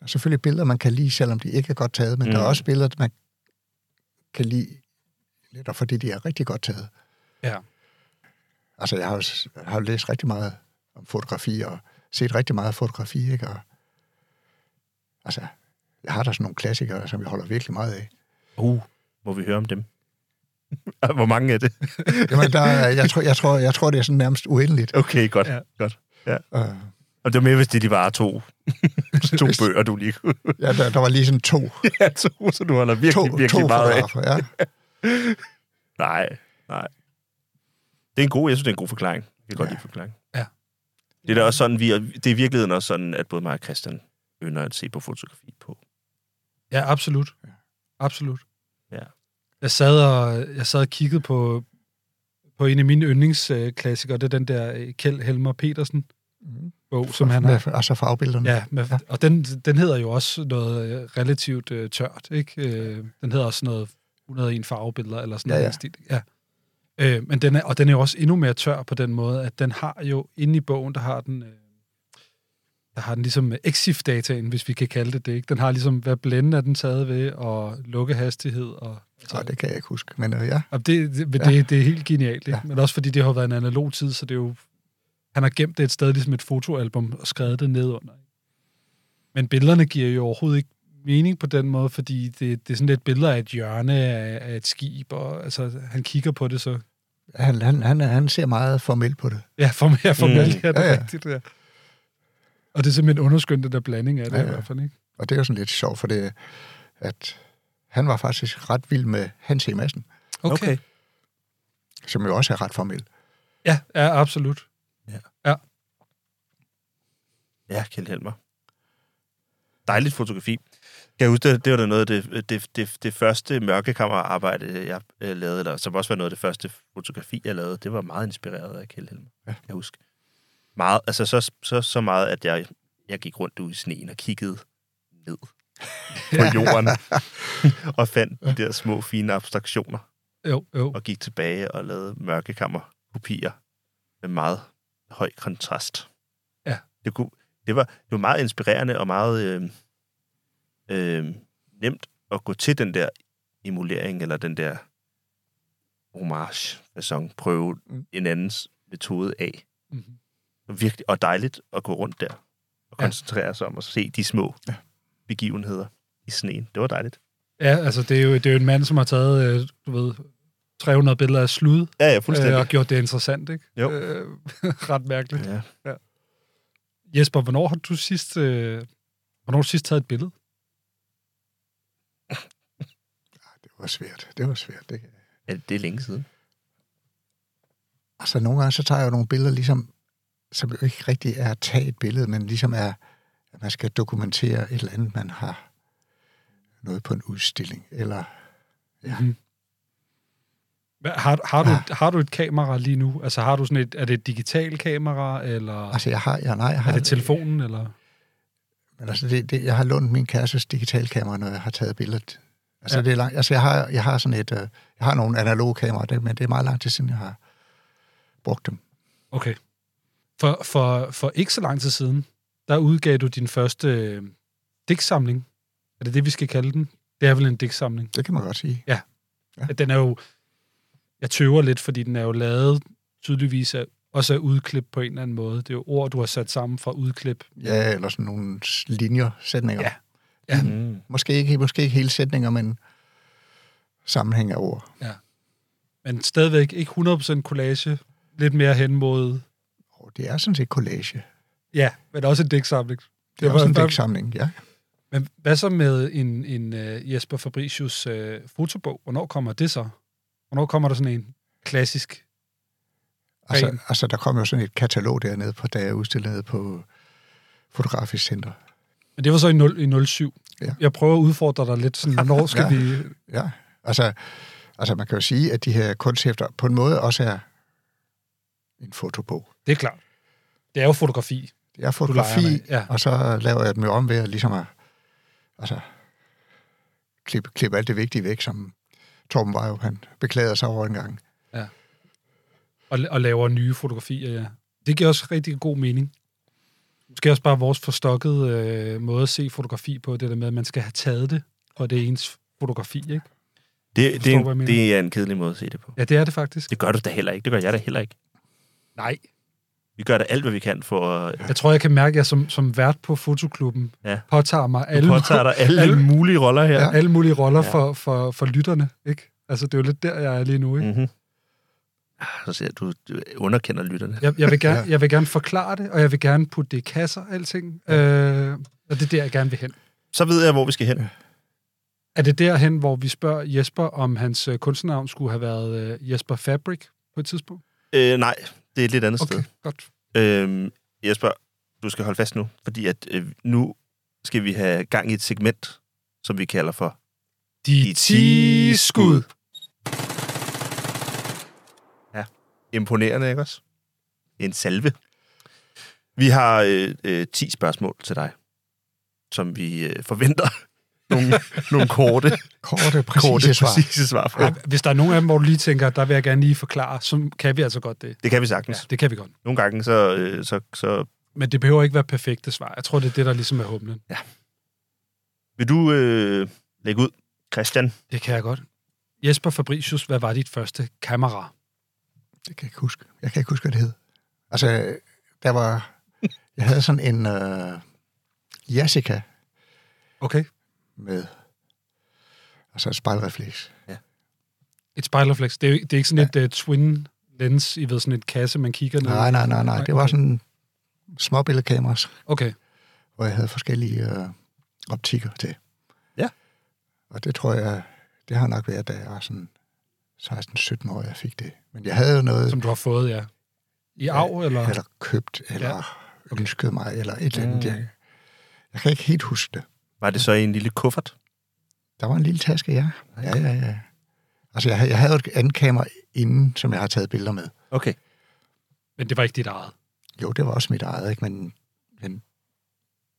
er selvfølgelig billeder, man kan lide, selvom de ikke er godt taget, men mm. der er
Mm.
også billeder, man kan lide, netop fordi de er rigtig godt taget.
Ja.
Altså, jeg har jo s- jeg har jo læst rigtig meget om fotografi, og set rigtig meget fotografi, ikke? Og, altså, jeg har der sådan nogle klassikere, som jeg holder virkelig meget af.
Uh, må vi høre om dem? Hvor mange er det?
Jamen, der, er- jeg, tror, jeg, tror, jeg tror, det er sådan nærmest uendeligt.
Okay, godt.
Ja.
Ja. godt.
Og,
Og det var mere, hvis det de var to, to
Hvis-
bøger, du lige kunne.
ja, der, der var ligesom to,
ja, to, så du holder
to,
virkelig,
to
virkelig meget af.
fotografer, ja.
Nej, Det er en god, jeg synes, det er en god forklaring. Jeg kan ja. godt
Ja.
lide forklaring.
Ja.
Det er da også sådan, vi er, det er i virkeligheden også sådan, at både mig og Christian ynder at se på fotografi på.
Ja, absolut.
Ja.
Absolut.
Ja.
Jeg sad og, jeg sad og kiggede på, på en af mine yndlingsklassikere, det er den der øh, Kjeld Helmer Petersen bog, som han har.
Med, altså for afbillederne.
Ja, med, ja. og den, den hedder jo også noget øh, relativt øh, tørt, ikke? Øh, den hedder også noget 101 farvebilleder, eller sådan
Ja,
noget.
ja.
Stil. ja. Øh, men den er, og den er jo også endnu mere tør på den måde, at den har jo inde i bogen, der har den... Øh, der har den ligesom exif-dataen, hvis vi kan kalde det det. Ikke? Den har ligesom, hvad blænden er den taget ved, og lukkehastighed. Og,
Så det kan jeg ikke huske. Men øh, ja,
og det, det, men
Ja.
det, det er helt genialt, ikke?
Ja.
men også fordi det har jo været en analog tid, så det er jo... Han har gemt det et sted ligesom et fotoalbum og skrevet det ned under. Men billederne giver jo overhovedet ikke mening på den måde, fordi det, det er sådan lidt billeder af et hjørne af, af et skib, og altså, han kigger på det så...
han, han, han, han ser meget formelt på det.
Ja, for mere formelt mm. er det
Ja,
ja,
ja.
ja. rigtigt, ja. Og det er simpelthen underskyndt, den der blanding af det ja,
Ja,
ja.
ja.
i hvert fald, ikke?
Og det er jo sådan lidt sjovt, for det at han var faktisk ret vild med Hans E. Madsen, som jo også er ret formel.
Ja, ja, absolut.
Ja, Kjeld Helmer. Dejligt fotografi. Kan jeg huske, det, det var da noget af det, det, det, det første mørkekammerarbejde, jeg øh, lavede, eller som også var noget af det første fotografi, jeg lavede. Det var meget inspireret af Kjeld Helmer, ja. kan jeg huske. Meget, altså så, så, så meget, at jeg, jeg gik rundt ude i sneen og kiggede ned på jorden, og fandt de der små, fine abstraktioner,
Jo, jo.
og gik tilbage og lavede mørkekammerkopier med meget høj kontrast.
Ja.
Det, kunne, det, var, det var meget inspirerende og meget øh, øh, nemt at gå til den der emulering eller den der homage façon prøve
Mm.
en andens metode af.
Mhm.
Virkelig, og dejligt at gå rundt der og
Ja.
koncentrere sig om at se de små ja. begivenheder i sneen. Det var dejligt.
Ja, altså, det er jo, det er jo en mand, som har taget, øh, du ved, 300 billeder af slud,
Ja, ja,
øh,
fuldstændig.
og gjort det interessant, ikke?
Jo.
Øh, ret mærkeligt.
Ja.
Jesper, hvornår har du sidst, øh, hvornår har du sidst taget et billede?
Det var svært. Det var svært. Det.
ja, det er længe siden.
Altså nogle gange, så tager jeg jo nogle billeder, ligesom, som jo ikke rigtig er at tage et billede, men ligesom er, at man skal dokumentere et eller andet, man har noget på en udstilling, eller
Hvad- Har, har, du,
Ja.
har du et kamera lige nu? Altså har du sådan et, er det et digitalt kamera, eller
Altså, jeg har... Ja, nej, jeg har
er det telefonen, eller?
Men altså, det, det, jeg har lånt min kærestes digitalkamera, når jeg har taget billedet. Altså,
Ja.
ja. det er langt, altså jeg, har, jeg har sådan et... Øh, jeg har nogle analoge kameraer, det, men det er meget lang tid siden, jeg har brugt dem.
Okay. For, for, for ikke så lang tid siden, der udgav du din første øh, digtsamling. Er det det, vi skal kalde den? Det er vel en digtsamling?
Det kan man godt sige.
At den er jo... Jeg tøver lidt, fordi den er jo lavet tydeligvis af, også af udklip på en eller anden måde. Det er jo ord, du har sat sammen fra udklip.
Ja, eller sådan nogle s- linjer, sætninger.
Ja.
Ja.
Mm.
Måske, ikke, måske ikke hele sætninger, men sammenhæng af ord.
Men stadigvæk ikke 100% collage. Lidt mere hen mod...
Og det er sådan set collage. Det
Ja, men også en digtsamling.
er det
var-
også en
der-
digtsamling, ja.
Men hvad så med en, en uh, Jesper Fabricius uh, fotobog? Hvornår kommer det så? Hvornår kommer der sådan en klassisk?
Altså,
Ren.
altså, der kom jo sådan et katalog dernede, på, da jeg udstillede nede på Fotografisk Center.
Men det var så i, 0, i 07.
Ja.
Jeg prøver at udfordre dig lidt, sådan, hvornår skal
Ja.
vi...
Ja, altså, altså man kan jo sige, at de her kunsthæfter på en måde også er en fotobog.
Det er klart. Det er jo fotografi.
Det er
leger med,
fotografi,
ja.
ja. og så laver jeg dem jo om ved at ligesom at, altså, klippe, klippe alt det vigtige væk, som Torben Vejrup, han beklager sig over en gang.
og, og laver nye fotografier, ja. Det giver også rigtig god mening. Måske også bare vores forstokkede øh, måde at se fotografi på, det der med, at man skal have taget det, og det er ens fotografi, ikke?
Det,
Forstår,
det, er
hvad jeg
en,
mener.
det er en kedelig måde at se det på.
Ja, det er det faktisk.
Det gør du da heller ikke. Det gør jeg da heller ikke.
Nej.
Vi gør da alt, hvad vi kan for at
Jeg tror, jeg kan mærke, at jeg som, som vært på fotoklubben
Ja.
påtager mig alle,
alle, påtage dig alle, alle
alle-
mulige roller her.
Ja.
alle mulige roller
Ja.
ja. for, for, for lytterne, ikke? Altså, det er jo lidt der, jeg er lige nu, ikke?
Mm-hmm. Ah, Så ser jeg, du, du underkender lytterne.
Jeg, jeg, vil gerne, jeg vil gerne forklare det, og jeg vil gerne putte det i kasser, alting. Øh, og det er der, jeg gerne vil hen.
Så ved jeg, hvor vi skal hen.
Er det derhen, hvor vi spørger Jesper, om hans øh, kunstnernavn skulle have været øh, Jesper Fabric på et tidspunkt?
Øh, nej, det er et lidt andet okay.
Okay,
sted.
godt.
Øhm, Jesper, du skal holde fast nu, fordi at øh, nu skal vi have gang i et segment, som vi kalder for
De 10 skud.
Ja, imponerende, ikke også? En salve. Vi har øh, øh, 10 spørgsmål til dig, som vi øh, forventer nogle, nogle korte,
Korte, præcise
korte
svar.
præcise svar på.
Ej, hvis der er nogen af dem, hvor du lige tænker, der vil jeg gerne lige forklare, så kan vi altså godt det.
Det kan vi
Ja,
sagtens.
det kan vi godt.
Nogle gange, så, øh, så, så
Men det behøver ikke være perfekte svar. Jeg tror, det er det, der ligesom er humlen.
vil du øh, lægge ud, Christian.
Det kan jeg godt. Jesper Fabricius, hvad var dit første kamera?
Det kan jeg ikke huske. Jeg kan ikke huske, hvad det hed. Altså, der var... Jeg havde sådan en øh, Jessica
Okay.
med. Altså et spejlrefleks.
Et spejlerflex. Det er, jo ikke- det er ikke sådan ja. et uh, twin lens, I ved, sådan et kasse, man kigger ned. i.
Nej, nej, nej, nej. Det var sådan småbilledkameras,
Okay.
hvor jeg havde forskellige øh, optikker til.
Ja.
Og det tror jeg, det har nok været, da jeg var sådan 16-17 år, jeg fik det. Men jeg havde jo noget,
Som du har fået, ja. I arv, eller?
eller købt, eller
Ja.
ja. okay. ønsket mig, eller et eller andet. Jeg, jeg kan ikke helt huske det.
Var det så i en lille kuffert?
Der var en lille taske, ja. Ja, ja, ja. Altså, jeg, havde- jeg havde jo et andet kamera inden, som jeg har taget billeder med.
Okay.
Men det var ikke dit eget.
Jo, det var også mit eget, ikke? Men, men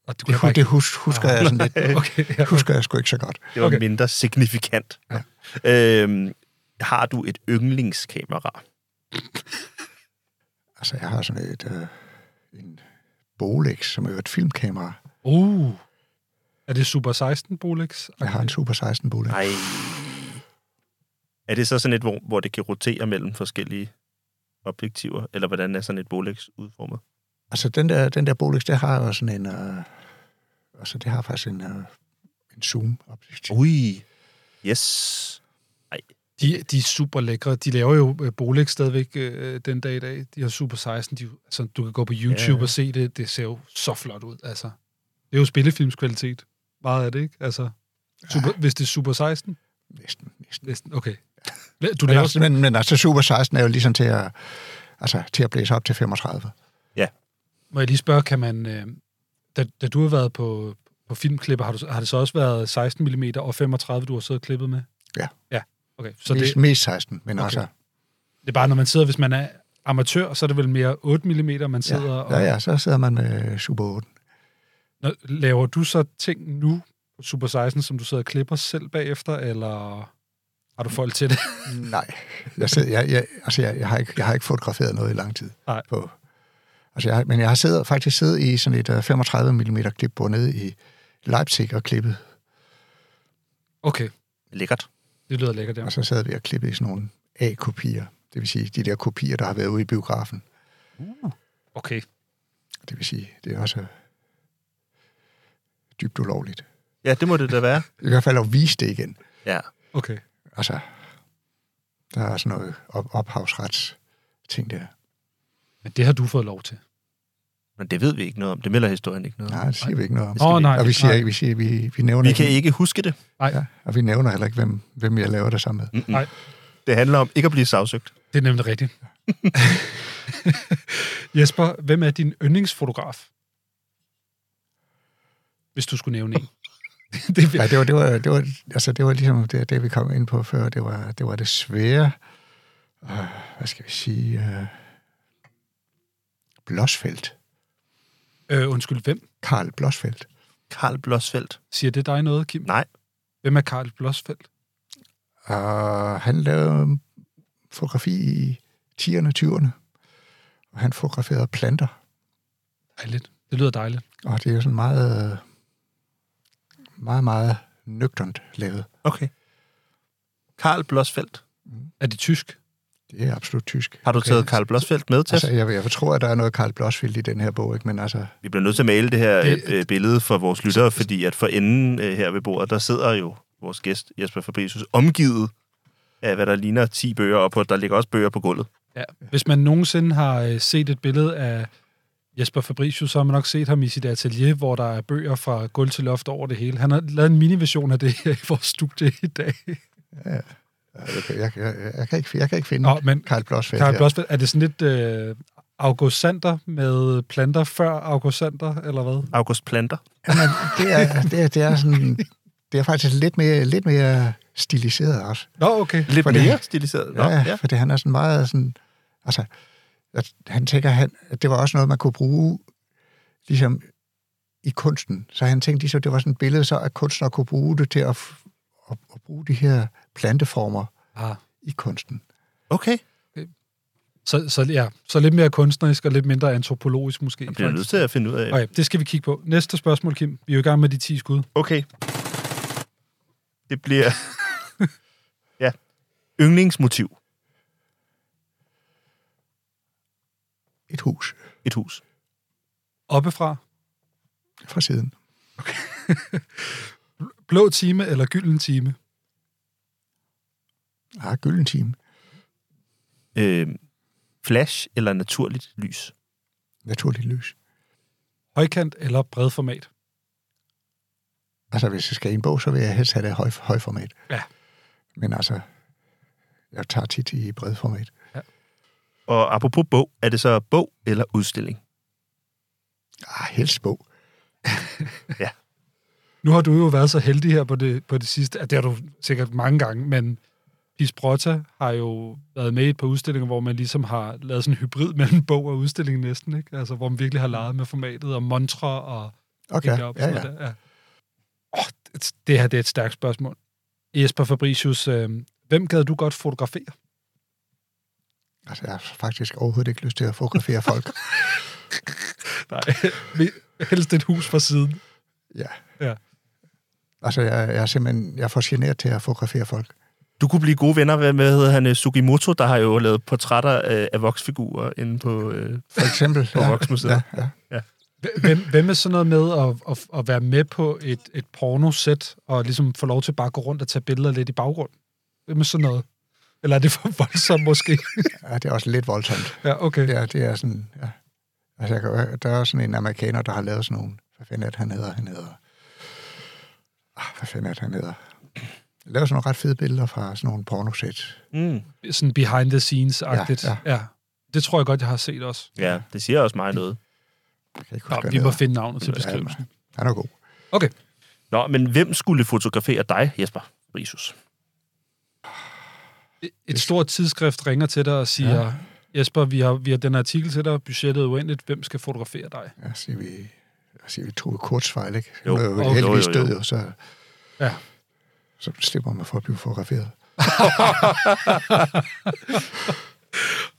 Og du
det,
kunne
hu-
bare
det
ikke...
hus, husker jeg sådan lidt.
Okay, ja.
husker jeg sgu ikke så godt.
Det var
Okay.
okay. mindre signifikant. Ja. Øhm, har du et yndlingskamera?
Altså, jeg har sådan et, øh, en Bolex, som er jo et filmkamera.
Uh. Er det Super 16 Bolex?
Jeg har en Super 16 Bolex.
Nej. Er det så sådan et, hvor, hvor det kan rotere mellem forskellige objektiver? Eller hvordan er sådan et Bolex udformet?
Altså, den der, den der Bolex, det har jo sådan en... Øh, altså, det har faktisk en, øh, en zoom-objektiv.
Ui. Yes.
De, de er super lækre. De laver jo øh, Bolex stadigvæk øh, den dag i dag. De har Super 16. De, altså, du kan gå på YouTube
Ja.
ja. og se det. Det ser jo så flot ud, altså. Det er jo spillefilmskvalitet. Meget af det, ikke? Altså, super, ja. hvis det er Super 16?
Næsten, næsten.
Næsten, okay. Du
Men,
laver
også, men, men altså, Super 16 er jo ligesom til at, altså, til at blæse op til 35.
Må jeg lige spørge, kan man... Øh, da, da du har været på, på filmklipper, har, du, har det så også været 16 mm og 35, du har siddet og klippet med?
Ja.
Ja, okay. Så
Så
det,
mest, det... mest 16, men
Okay.
okay. altså...
det er bare, når man sidder, hvis man er amatør, så er det vel mere 8 mm, man
Ja,
sidder og...
ja, ja, så sidder man med Super 8.
Nå, laver du så ting nu på Super 16, som du sidder og klipper selv bagefter, eller har du folk til det?
Nej, jeg, sidder, jeg, jeg, altså jeg, jeg, har ikke, jeg har ikke fotograferet noget i lang tid.
Nej.
På, altså jeg, har- men jeg har siddet, faktisk siddet i sådan et øh, 35 mm klipbord nede i Leipzig og klippet.
Okay,
Lækkert.
det lyder lækkert, ja.
Og så sad vi og klippede i sådan nogle A-kopier. Det vil sige, de der kopier, der har været ude i biografen.
Okay.
Det vil sige, det er også øh, dybt ulovligt.
Ja, det må det da være.
I hvert fald at vise det igen.
Ja.
Okay.
Altså, der er sådan noget op- ophavsrets ting der.
Men det har du fået lov til.
Men det ved vi ikke noget om. Det melder historien ikke noget om.
Nej, det siger vi ikke noget om.
skal
Åh,
vi-
nej.
Og vi siger
nej.
ikke, vi, siger, vi, vi nævner
Vi kan ikke huske det.
Ja, og vi nævner heller ikke, hvem, hvem jeg laver det sammen med.
Mm-mm.
Nej.
Det handler om ikke at blive sagsøgt.
Det er nemlig rigtigt. Jesper, hvem er din yndlingsfotograf? Hvis du skulle nævne en. det vil.
Ja, det var, det var, det var, altså, det var ligesom det, det, vi kom ind på før. Det var det, var det svære, øh, hvad skal vi sige, øh, Blåsfeldt.
Øh, undskyld, hvem?
Karl Blåsfeldt.
Karl Blåsfeldt.
Siger det dig noget, Kim?
Nej.
Hvem er Karl Blåsfeldt?
Og han lavede fotografi i 10'erne, 20'erne. Og han fotograferede planter.
Dejligt. Det lyder dejligt.
Og det er jo sådan meget, øh, meget, meget nøgternt lavet.
Okay. Karl Blåsfeldt.
Er det tysk?
Det er absolut tysk.
Har du
Okay.
taget Karl Blåsfeldt med til?
Altså, jeg, jeg tror, at der er noget Karl Blåsfeldt i den her bog, ikke? men altså,
Vi bliver nødt til at male det her
Det-
det, øh, billede for vores lyttere, fordi at for enden øh, her ved bordet, der sidder jo vores gæst Jesper Fabricius omgivet af, hvad der ligner 10 bøger, og på, der ligger også bøger på gulvet.
Ja. Hvis man nogensinde har øh, set et billede af Jesper Fabricius, så har man nok set ham i sit atelier, hvor der er bøger fra gulv til loft over det hele. Han har lavet en miniversion af det her i vores studie i dag.
Jeg, jeg, jeg, jeg, kan, ikke, jeg kan ikke finde
Nå,
Nå,
men
Karl Blåsfeldt.
Karl
her.
Blåsfeldt, er det sådan lidt øh, August Sander med planter før August Sander, eller hvad?
August Planter.
Jamen, det, er, det, er, det, er sådan, det er faktisk lidt mere, lidt mere stiliseret også.
Nå, okay.
Lidt
Fordi-
mere stiliseret. Nå,
Ja, ja.
ja.
Fordi han er sådan meget sådan... Altså, at han tænker, han, at det var også noget, man kunne bruge ligesom i kunsten. Så han tænkte ligesom, det var sådan et billede, så at kunstnere kunne bruge det til at, f- at, at bruge de her planteformer
Ah.
i kunsten.
Okay.
Så, så, ja. så lidt mere kunstnerisk og lidt mindre antropologisk måske.
Jeg bliver nødt til at finde ud af.
Okay, det skal vi kigge på. Næste spørgsmål, Kim. Vi er jo i gang med de 10 skud.
Okay. Det bliver... ja. Yndlingsmotiv.
Et hus
Et hus.
Oppefra,
fra siden.
blå time eller gylden time?
Ah, gylden time.
Øh, flash eller naturligt lys.
Naturligt lys.
Højkant eller bredformat?
Altså, hvis jeg skal i en bog, så vil jeg helst have det i høj, højformat.
Ja.
Men altså, jeg tager tit i bredformat.
Og apropos bog, er det så bog eller udstilling?
Ah, helst bog.
Nu har du jo været så heldig her på det, på det sidste, at det har du sikkert mange gange, men Pisprotta har jo været med i et par udstillinger, hvor man ligesom har lavet sådan en hybrid mellem bog og udstilling næsten, ikke? Altså, hvor man virkelig har leget med formatet og montre og
Okay,
op,
ja, ja.
Der. ja. Oh, det, det her det er et stærkt spørgsmål. Jesper Fabricius, øh, hvem gad du godt fotografere?
Altså, jeg har faktisk overhovedet ikke lyst til at fotografere folk.
Nej, vi- helst et hus fra siden.
Ja.
Ja.
Altså, jeg, jeg er simpelthen jeg er for generet til at fotografere folk.
Du kunne blive gode venner med, hvad hedder han, øh, Sugimoto, der har jo lavet portrætter øh, af voksfigurer inde på... Øh,
For eksempel.
På Voksmuseet.
Ja, ja.
Hvem, hvem er sådan noget med at, at, at være med på et, et pornosæt, og ligesom få lov til bare at gå rundt og tage billeder lidt i baggrunden? Hvem er sådan noget? Eller er det for voldsomt måske?
ja, det er også lidt voldsomt.
Ja, okay.
Ja, det er sådan, ja. Altså, jeg kan, jo- der er også sådan en amerikaner, der har lavet sådan nogle... Hvad fanden er det, han hedder? Han hedder... Ah, hvad fanden er det, han hedder? Jeg laver sådan nogle ret fede billeder fra sådan nogle pornosæt.
mm.
Sådan behind the scenes-agtigt.
Ja,
ja. ja. Det tror jeg godt, jeg har set også.
Ja, det siger også mig noget.
Jeg kan ikke huske,
Nå,
hvad
vi
han
må
hedder.
finde navnet til beskrivelsen.
Han er god.
Okay.
Nå, men hvem skulle fotografere dig, Jesper Risus?
Et stort tidsskrift ringer til dig og siger, ja. Jesper, vi har, vi har den artikel til dig, budgettet er uendeligt, hvem skal fotografere dig?
Ja, siger vi... Jeg siger, vi Tove Kortsvejl, ikke?
Jo.
Jo, jo,
Jo,
jo, heldigvis
jo, jo.
død, jo, så...
Ja.
Så slipper man for at blive fotograferet.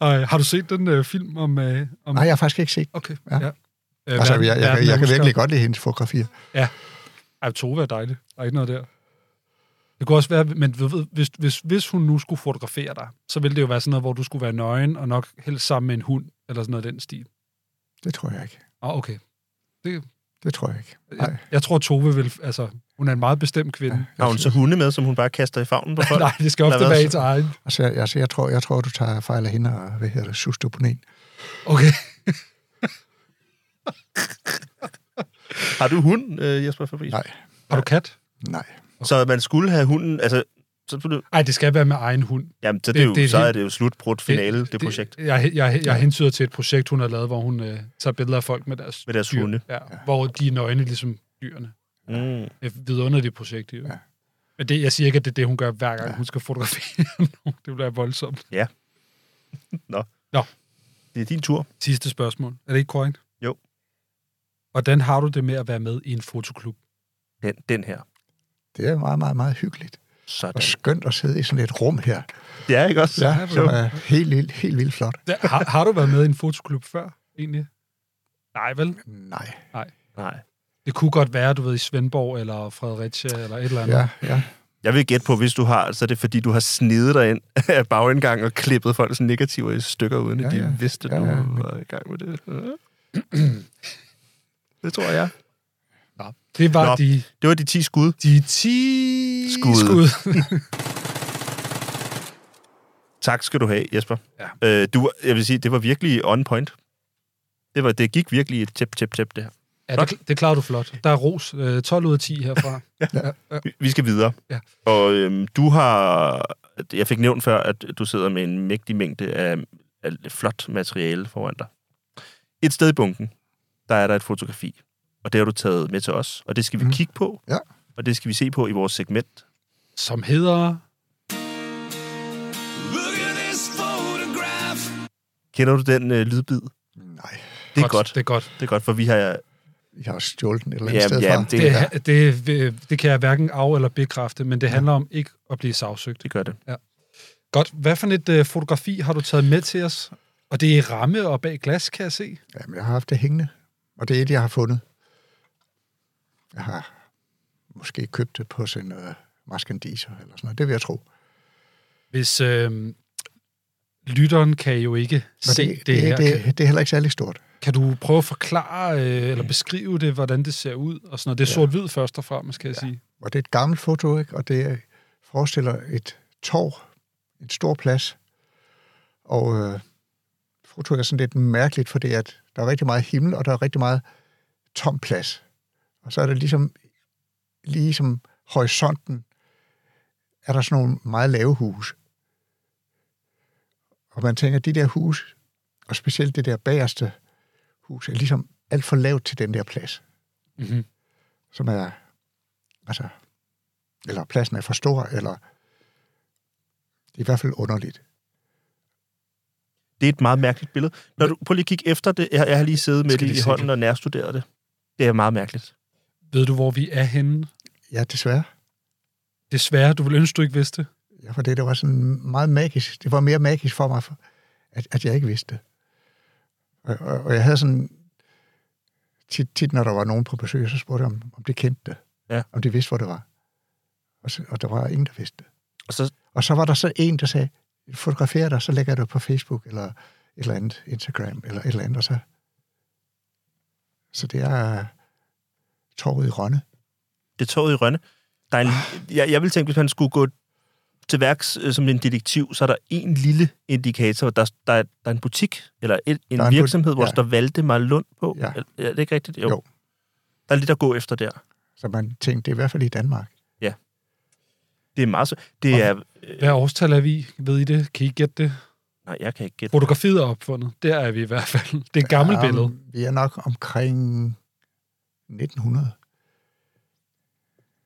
Ej, har du set den øh, film om... Øh, om
Nej, jeg har faktisk ikke set.
Okay, ja.
Ja.
ja. Øh,
Altså, jeg,
verden-
jeg, jeg,
verden
jeg,
er
jeg kan
uskabt.
virkelig godt lide hendes fotografier.
Ej, Tove er dejlig. Der er ikke noget der. Det kunne også være, men du ved, hvis, hvis, hvis hun nu skulle fotografere dig, så ville det jo være sådan noget, hvor du skulle være nøgen, og nok helst sammen med en hund, eller sådan noget af den stil.
Det tror jeg ikke.
Ah, okay.
Det tror jeg ikke.
Jeg, jeg tror, Tove vil... Altså, hun er en meget bestemt kvinde. Ja.
Har hun så hunde med, som hun bare kaster i favnen på folk?
Nej, det skal
Eller
ofte
hvad?
være ens egen.
Altså, jeg, altså, jeg, tror, jeg tror, du tager fejl af hende og, hvad hedder det, sustoponen.
Okay.
Har du hund, øh, Jesper Fabricius?
Nej,
Har du kat?
nej.
Så man skulle have hunden, altså... Så, blev det-
Nej, det skal være med egen hund.
jamen, så, det,
Det-
det, er jo,
det er
så
helt-
er det jo slut, brudt, finale, det, det projekt.
Jeg, jeg, jeg, jeg hentyder til et projekt, hun har lavet, hvor hun øh, tager billeder af folk med deres,
Med deres
dyr.
hunde.
Ja, Hvor de er nøgne, ligesom dyrene.
Mm.
Et vidunderligt projekt, jo. Ja.
Ja.
Men det, jeg siger ikke, at det er det, hun gør hver gang, ja. hun skal fotografere nogen. Det bliver voldsomt.
Det er din tur.
Sidste spørgsmål. Er det ikke korrekt?
Jo.
Hvordan har du det med at være med i en fotoklub?
Den, den her.
Det er meget, meget, meget hyggeligt.
Sådan.
Og skønt at sidde i sådan et rum her.
Det er ikke også?
Ja,
det
som
var-
er helt, helt, helt vildt flot.
Ja, Har, har du været med i en fotoklub før, egentlig? Nej, vel?
Nej.
Nej.
Det kunne godt være, du ved, i Svendborg eller Fredericia eller et eller andet.
Ja, ja.
Jeg vil gætte på, hvis du har, så er det fordi, du har snedet dig ind af bagindgang og klippet folks negativer i stykker, uden ja,
Ja,
at de ja.
ja.
vidste, at
Ja,
du
ja.
var i gang med det. Det tror jeg.
Det var
Nå.
de,
Det var de 10 skud.
de 10
Skud.
skud.
Tak skal du have, Jesper.
Ja.
Øh, du, jeg vil sige, det var virkelig on point. Det, var, det gik virkelig i et tæp, tæp, tæp, det her.
Ja, det, det klarer du flot. Der er ros. Øh, 12 ud af 10 herfra.
Vi- Vi skal videre.
Ja.
Og øhm, du har... Jeg fik nævnt før, at du sidder med en mægtig mængde af, af flot materiale foran dig. Et sted i bunken, der er der et fotografi. Og det har du taget med til os. Og det skal vi mm. kigge på.
Ja.
Og det skal vi se på i vores segment.
Som hedder...
Kender du den øh, lydbid?
Nej,
Det er godt.
Det er godt.
Det er godt, for vi har...
jeg har stjålet den et eller andet
Ja,
sted
ja,
fra.
det-
Det, er- det, det, det kan jeg hverken af- eller bekræfte, men det handler om ikke at blive sagsøgt.
Det gør det.
Godt. Hvad for et øh, fotografi har du taget med til os? Og det er i ramme og bag glas, kan jeg se.
Jamen, jeg har haft det hængende, og det er et, jeg har fundet. Jeg har måske købt det på sådan noget maskandiser eller sådan noget. Det vil jeg tro.
Hvis øh, lytteren kan jo ikke
Men
se det,
det,
her.
det,
Kan,
det, det er heller ikke særlig stort.
kan du prøve at forklare øh, eller beskrive det, hvordan det ser ud? Og sådan noget. Det er sort-hvid først og fremmest, kan jeg sige.
Og det er et gammelt foto, ikke? og det er- forestiller et torv, en stor plads. Og øh, fotoet er sådan lidt mærkeligt, fordi at der er rigtig meget himmel, og der er rigtig meget tom plads. Og så er der ligesom, ligesom horisonten, er der sådan nogle meget lave huse. Og man tænker, de der hus, og specielt det der bagerste hus, er ligesom alt for lavt til den der plads.
Mhm.
Som er altså, eller pladsen er for stor, eller det er i hvert fald underligt.
Det er et meget mærkeligt billede. Når du, prøv lige at kigge efter det. Jeg, jeg har lige siddet med
Skal
det
lige
i
se
hånden og nærstuderet det. Det er meget mærkeligt.
Ved du, hvor vi er henne?
Ja, desværre.
Desværre, du vil ønske, du ikke vidste. det.
Ja, for det, det var sådan meget magisk. Det var mere magisk for mig, for- at, at jeg ikke vidste det. Og, og, og jeg havde sådan... Tit, tit, når der var nogen på besøg, så spurgte jeg, om, om de kendte det.
Ja.
Om de vidste, hvor det var. Og, så, og der var ingen, der vidste det.
Og så
Og så var der så en, der sagde, fotografer dig, så lægger jeg det på Facebook, eller et eller andet Instagram, eller et eller andet, og så... Så det er torvet i Rønne.
det er toget i Rønne. Der er en,
Ah.
jeg, jeg vil tænke, hvis man skulle gå til værks øh, som en detektiv, så er der en lille indikator. Der, der, er, der er en butik, eller et, en,
Der er
en
en
virksomhed,
but-
hvor
ja.
der valgte mig Lund på.
Ja.
Er, er det ikke rigtigt? Jo.
Jo.
Der er lidt at gå efter der.
Så man tænkte, det er i hvert fald i Danmark.
Det er meget så... Det er... Øh,
Hvad årstal er vi? i? Ved I det? Kan I gætte det?
nej, jeg kan ikke gætte.
Fotografiet er opfundet. Der er vi i hvert fald. Det er et gammelt
Ja, um,
billede.
Vi er nok omkring 1900.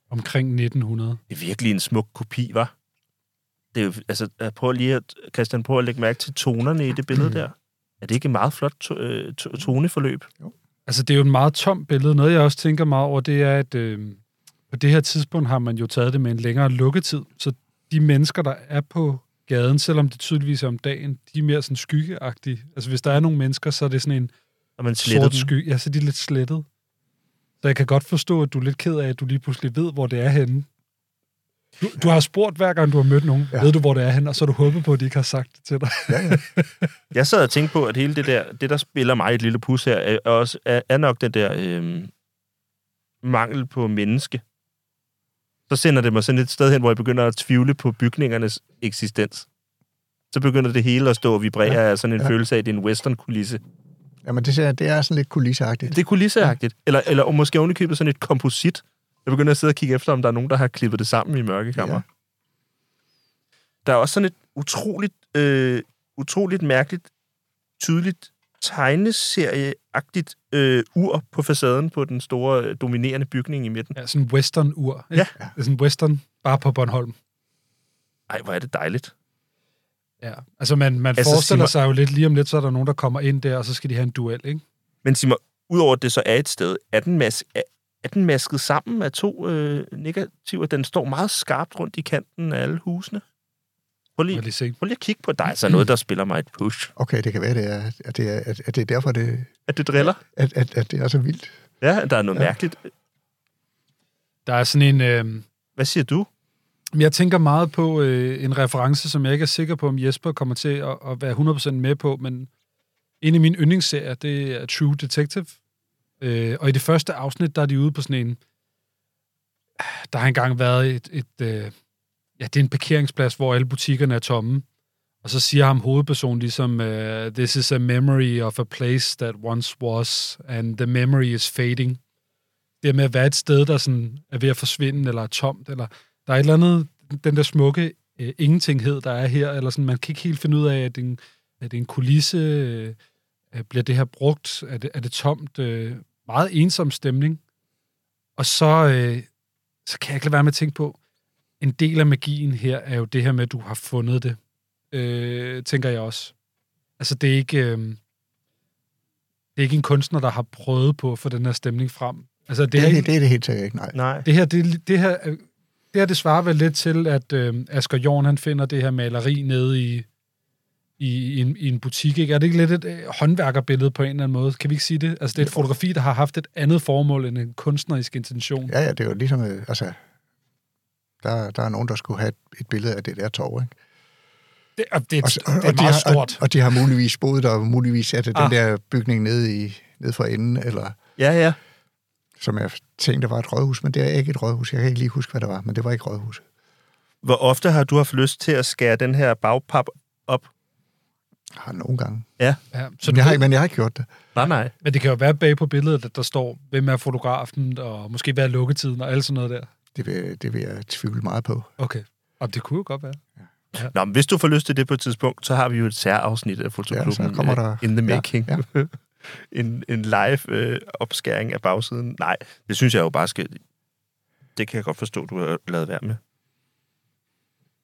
Omkring 1900.
Det er virkelig en smuk kopi, var. Det er jo, altså, jeg prøver lige at, Christian, prøv at lægge mærke til tonerne i det billede der. Er det ikke et meget flot to, øh, to, toneforløb?
Altså, det er jo en meget tom billede. Noget, jeg også tænker meget over, det er, at øh, på det her tidspunkt har man jo taget det med en længere lukketid. Så de mennesker, der er på gaden, selvom det tydeligvis er om dagen, de er mere sådan skyggeagtige. Altså, hvis der er nogle mennesker, så er det sådan en
Og man sletter
sort
den.
sky. Ja, så er de lidt slettet. Så jeg kan godt forstå, at du er lidt ked af, at du lige pludselig ved, hvor det er henne. Du, du har spurgt hver gang, du har mødt nogen, ja.
Ja.
ved du, hvor det er henne, og så har du håbet på, at de ikke har sagt det til dig.
Jeg sad og tænkte på, at hele det der, det der spiller mig et lille pus her, er, er også, er, er nok den der øh, mangel på menneske. Så sender det mig sådan et sted hen, hvor jeg begynder at tvivle på bygningernes eksistens. Så begynder det hele at stå og vibrere ja. af sådan en ja. følelse af, at det er en western-kulisse.
Jamen, det, ser, det er sådan lidt kulisseagtigt.
Det er kulisseagtigt. Eller, eller og måske ovenikøbet sådan et komposit. Jeg begynder at sidde og kigge efter, om der er nogen, der har klippet det sammen i mørkekammer. Ja.
Ja.
Der er også sådan et utroligt, øh, utroligt mærkeligt, tydeligt tegneserieagtigt øh, ur på facaden på den store øh, dominerende bygning i midten.
Ja, sådan en western-ur. ikke?
Ja.
Det er sådan en western, bare på Bornholm.
Ej, hvor er det dejligt.
Ja, altså man, man
Altså,
altså, forestiller
Simon-
sig jo lidt, lige om lidt, så er der nogen, der kommer ind der, og så skal de have en duel, ikke?
Men sig mig, udover at det så er et sted, er den, mas- er, er den masket sammen af to øh, negativer? Den står meget skarpt rundt i kanten af alle husene. Prøv
Må
lige,
jeg lige se.
Prøv lige at kigge på dig. Så noget, der spiller mig et push.
Okay, det kan være, det er, at, det er, at, at det er derfor, det,
At det driller?
at, at, at det er så vildt.
Ja, der er noget ja. mærkeligt.
Der er sådan en... Øh,
Hvad siger du?
men jeg tænker meget på øh, en reference, som jeg ikke er sikker på, om Jesper kommer til at, at være 100% med på, men en af mine yndlingsserier, det er True Detective. Øh, og i det første afsnit, der er de ude på sådan en... Der har engang været et... et øh, ja, det er en parkeringsplads, hvor alle butikkerne er tomme. Og så siger ham hovedpersonen ligesom, øh, this is a memory of a place that once was, and the memory is fading. Det med at være et sted, der sådan er ved at forsvinde, eller er tomt, eller der er et eller andet, den der smukke øh, ingentinghed, der er her, eller sådan, man kan ikke helt finde ud af, at det er en, er det en kulisse, øh, øh, bliver det her brugt, er det, er det tomt, øh, meget ensom stemning. Og så, øh, så kan jeg ikke lade være med at tænke på, en del af magien her er jo det her med, at du har fundet det, øh, tænker jeg også. Altså, det er ikke... Øh, det er ikke en kunstner, der har prøvet på at få den her stemning frem. Altså, det,
Det,
er
det,
ikke-
det, det er det helt sikkert ikke, nej.
Nej.
det her, det, det her, øh, det her, det svarer vel lidt til, at øh, Asger Jorn, han finder det her maleri nede i, i, i, en, i en butik, ikke? Er det ikke lidt et øh, håndværkerbillede på en eller anden måde? Kan vi ikke sige det? Altså, det er et fotografi, der har haft et andet formål end en kunstnerisk intention.
Ja, ja, det er jo ligesom, øh, altså, der, der er nogen, der skulle have et, et billede af det der torv, ikke?
Det, og det, er,
Og,
et-
så-
det er
og de
meget
har,
stort.
Og, og de har muligvis boet der, og muligvis er det ah.
Ah.
den der bygning nede, i, nede for enden, eller
Ja, ja.
som jeg tænkte, var et rådhus, men det er ikke et rådhus. Jeg kan ikke lige huske, hvad det var, men det var ikke rådhus.
Hvor ofte har du haft lyst til at skære den her bagpap op?
Jeg har nogle gange.
ja, så
Men
du,
jeg, har, ikke-
ved,
men jeg har ikke gjort det.
Nej, nej.
men det kan jo være bag på billedet, at der står, hvem er fotografen, og måske hvad er lukketiden, og alt sådan noget der.
Det vil, det vil jeg tvivle meget på.
Okay. Og det kunne jo godt være.
Nå, men hvis du får lyst til det på et tidspunkt, så har vi jo et særafsnit af
Ja,
Fotoklubben
så kommer der...
øh, In the Making.
Ja, ja.
en, en live øh, opskæring af bagsiden. Nej, det synes jeg jo bare skal... Det kan jeg godt forstå, du har lavet værd med.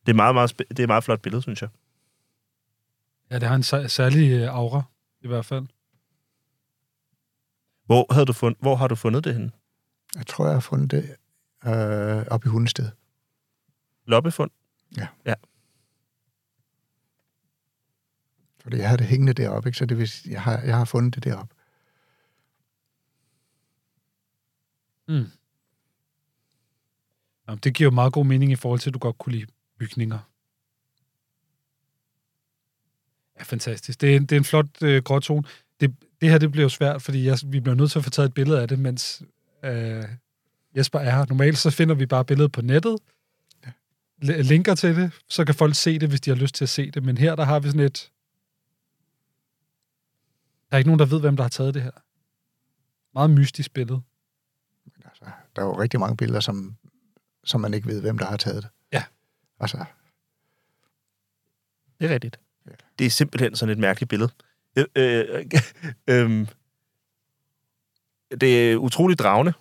Det er meget, meget, sp- det er et meget flot billede, synes jeg.
Ja, det har en sær- særlig øh, aura, i hvert fald.
Hvor, havde du fund, hvor har du fundet det henne?
Jeg tror, jeg har fundet det øh, op i Hundested.
Loppefund?
Fordi jeg havde det hængende deroppe, ikke? så det vil, sige, jeg, har, jeg har fundet det deroppe.
Jamen, det giver jo meget god mening i forhold til, at du godt kunne lide bygninger. Ja, fantastisk. Det er, en- det er en flot øh, grå tone. Det, det her, det bliver jo svært, fordi jeg, vi bliver nødt til at få taget et billede af det, mens øh, Jesper er her. Normalt så finder vi bare billedet på nettet, li- linker til det, så kan folk se det, hvis de har lyst til at se det. Men her, der har vi sådan et... Der er ikke nogen, der ved, hvem der har taget det her. Meget mystisk billede.
Altså, der er jo rigtig mange billeder, som, som man ikke ved, hvem der har taget det.
Ja.
Altså,
Det er rigtigt.
Ja.
Det er simpelthen sådan et mærkeligt billede. Øh, øh, øh, det er utroligt dragende.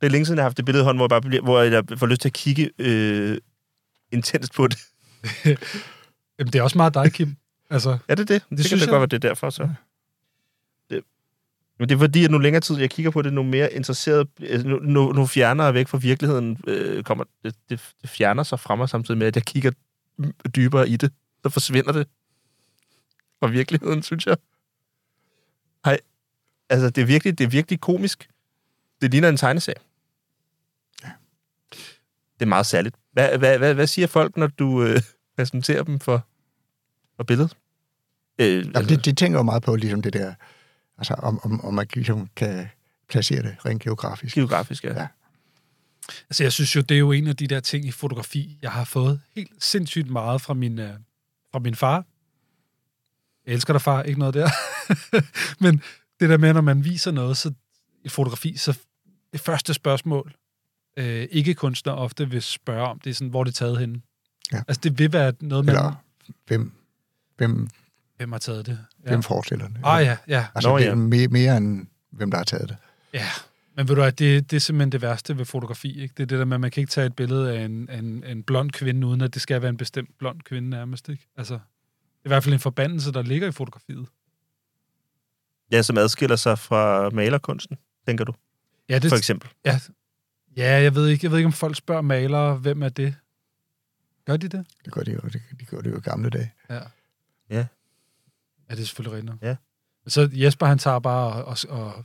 Det er længe siden, jeg har haft det billede i hånden, hvor jeg, bare bliver, hvor jeg får lyst til at kigge øh, intenst på det.
Jamen, det er også meget dig, Kim. Altså,
Er det det? Det, det synes
synes
kan da
jeg.
godt være, det er derfor, så. Det. Men det er fordi, at nu længere tid, jeg kigger på det, nu mere interesseret, altså, nu, nu, nu fjerner jeg væk fra virkeligheden, øh, kommer, det, det, det fjerner sig fra mig samtidig med, at jeg kigger dybere i det. Så forsvinder det fra virkeligheden, synes jeg. Hej. Altså, det er virkelig, det er virkelig komisk. Det ligner en tegneserie. Det er meget særligt. Hvad, hvad, hvad, hvad siger folk, når du øh, præsenterer dem for, for billedet? Øh,
jamen, det, de tænker jo meget på ligesom det der, altså om, om, om man ligesom kan placere det rent geografisk.
geografisk, ja.
Ja.
Altså, jeg synes jo, det er jo en af de der ting i fotografi, jeg har fået helt sindssygt meget fra min, øh, fra min far. Jeg elsker dig, far. Ikke noget der. Men det der med, når man viser noget så et fotografi, så det første spørgsmål, øh, ikke kunstner ofte vil spørge om, det er sådan, hvor er det taget henne?
Ja.
Altså, det vil være noget, man...
Eller hvem, hvem,
Hvem har taget det?
ja. hvem forestiller det?
Ah, ja, ja.
Altså,
Nå,
Nå,
ja.
ja. mere, mere end hvem, der har taget det.
Ja, men ved du hvad, det, det er simpelthen det værste ved fotografi, ikke? Det er det der med, at man kan ikke tage et billede af en, af en, af en blond kvinde, uden at det skal være en bestemt blond kvinde nærmest, ikke? Altså, det er i hvert fald en forbandelse, der ligger i fotografiet.
ja, som adskiller sig fra malerkunsten, tænker du,
Ja, det,
for eksempel.
ja, ja jeg, ved ikke, jeg ved ikke, om folk spørger malere, hvem er det? Gør de det?
Det gør de jo, det, de gør det jo i gamle dage.
Ja, det er selvfølgelig rigtigt. nok.
Ja.
Så Jesper, han tager bare og, og, og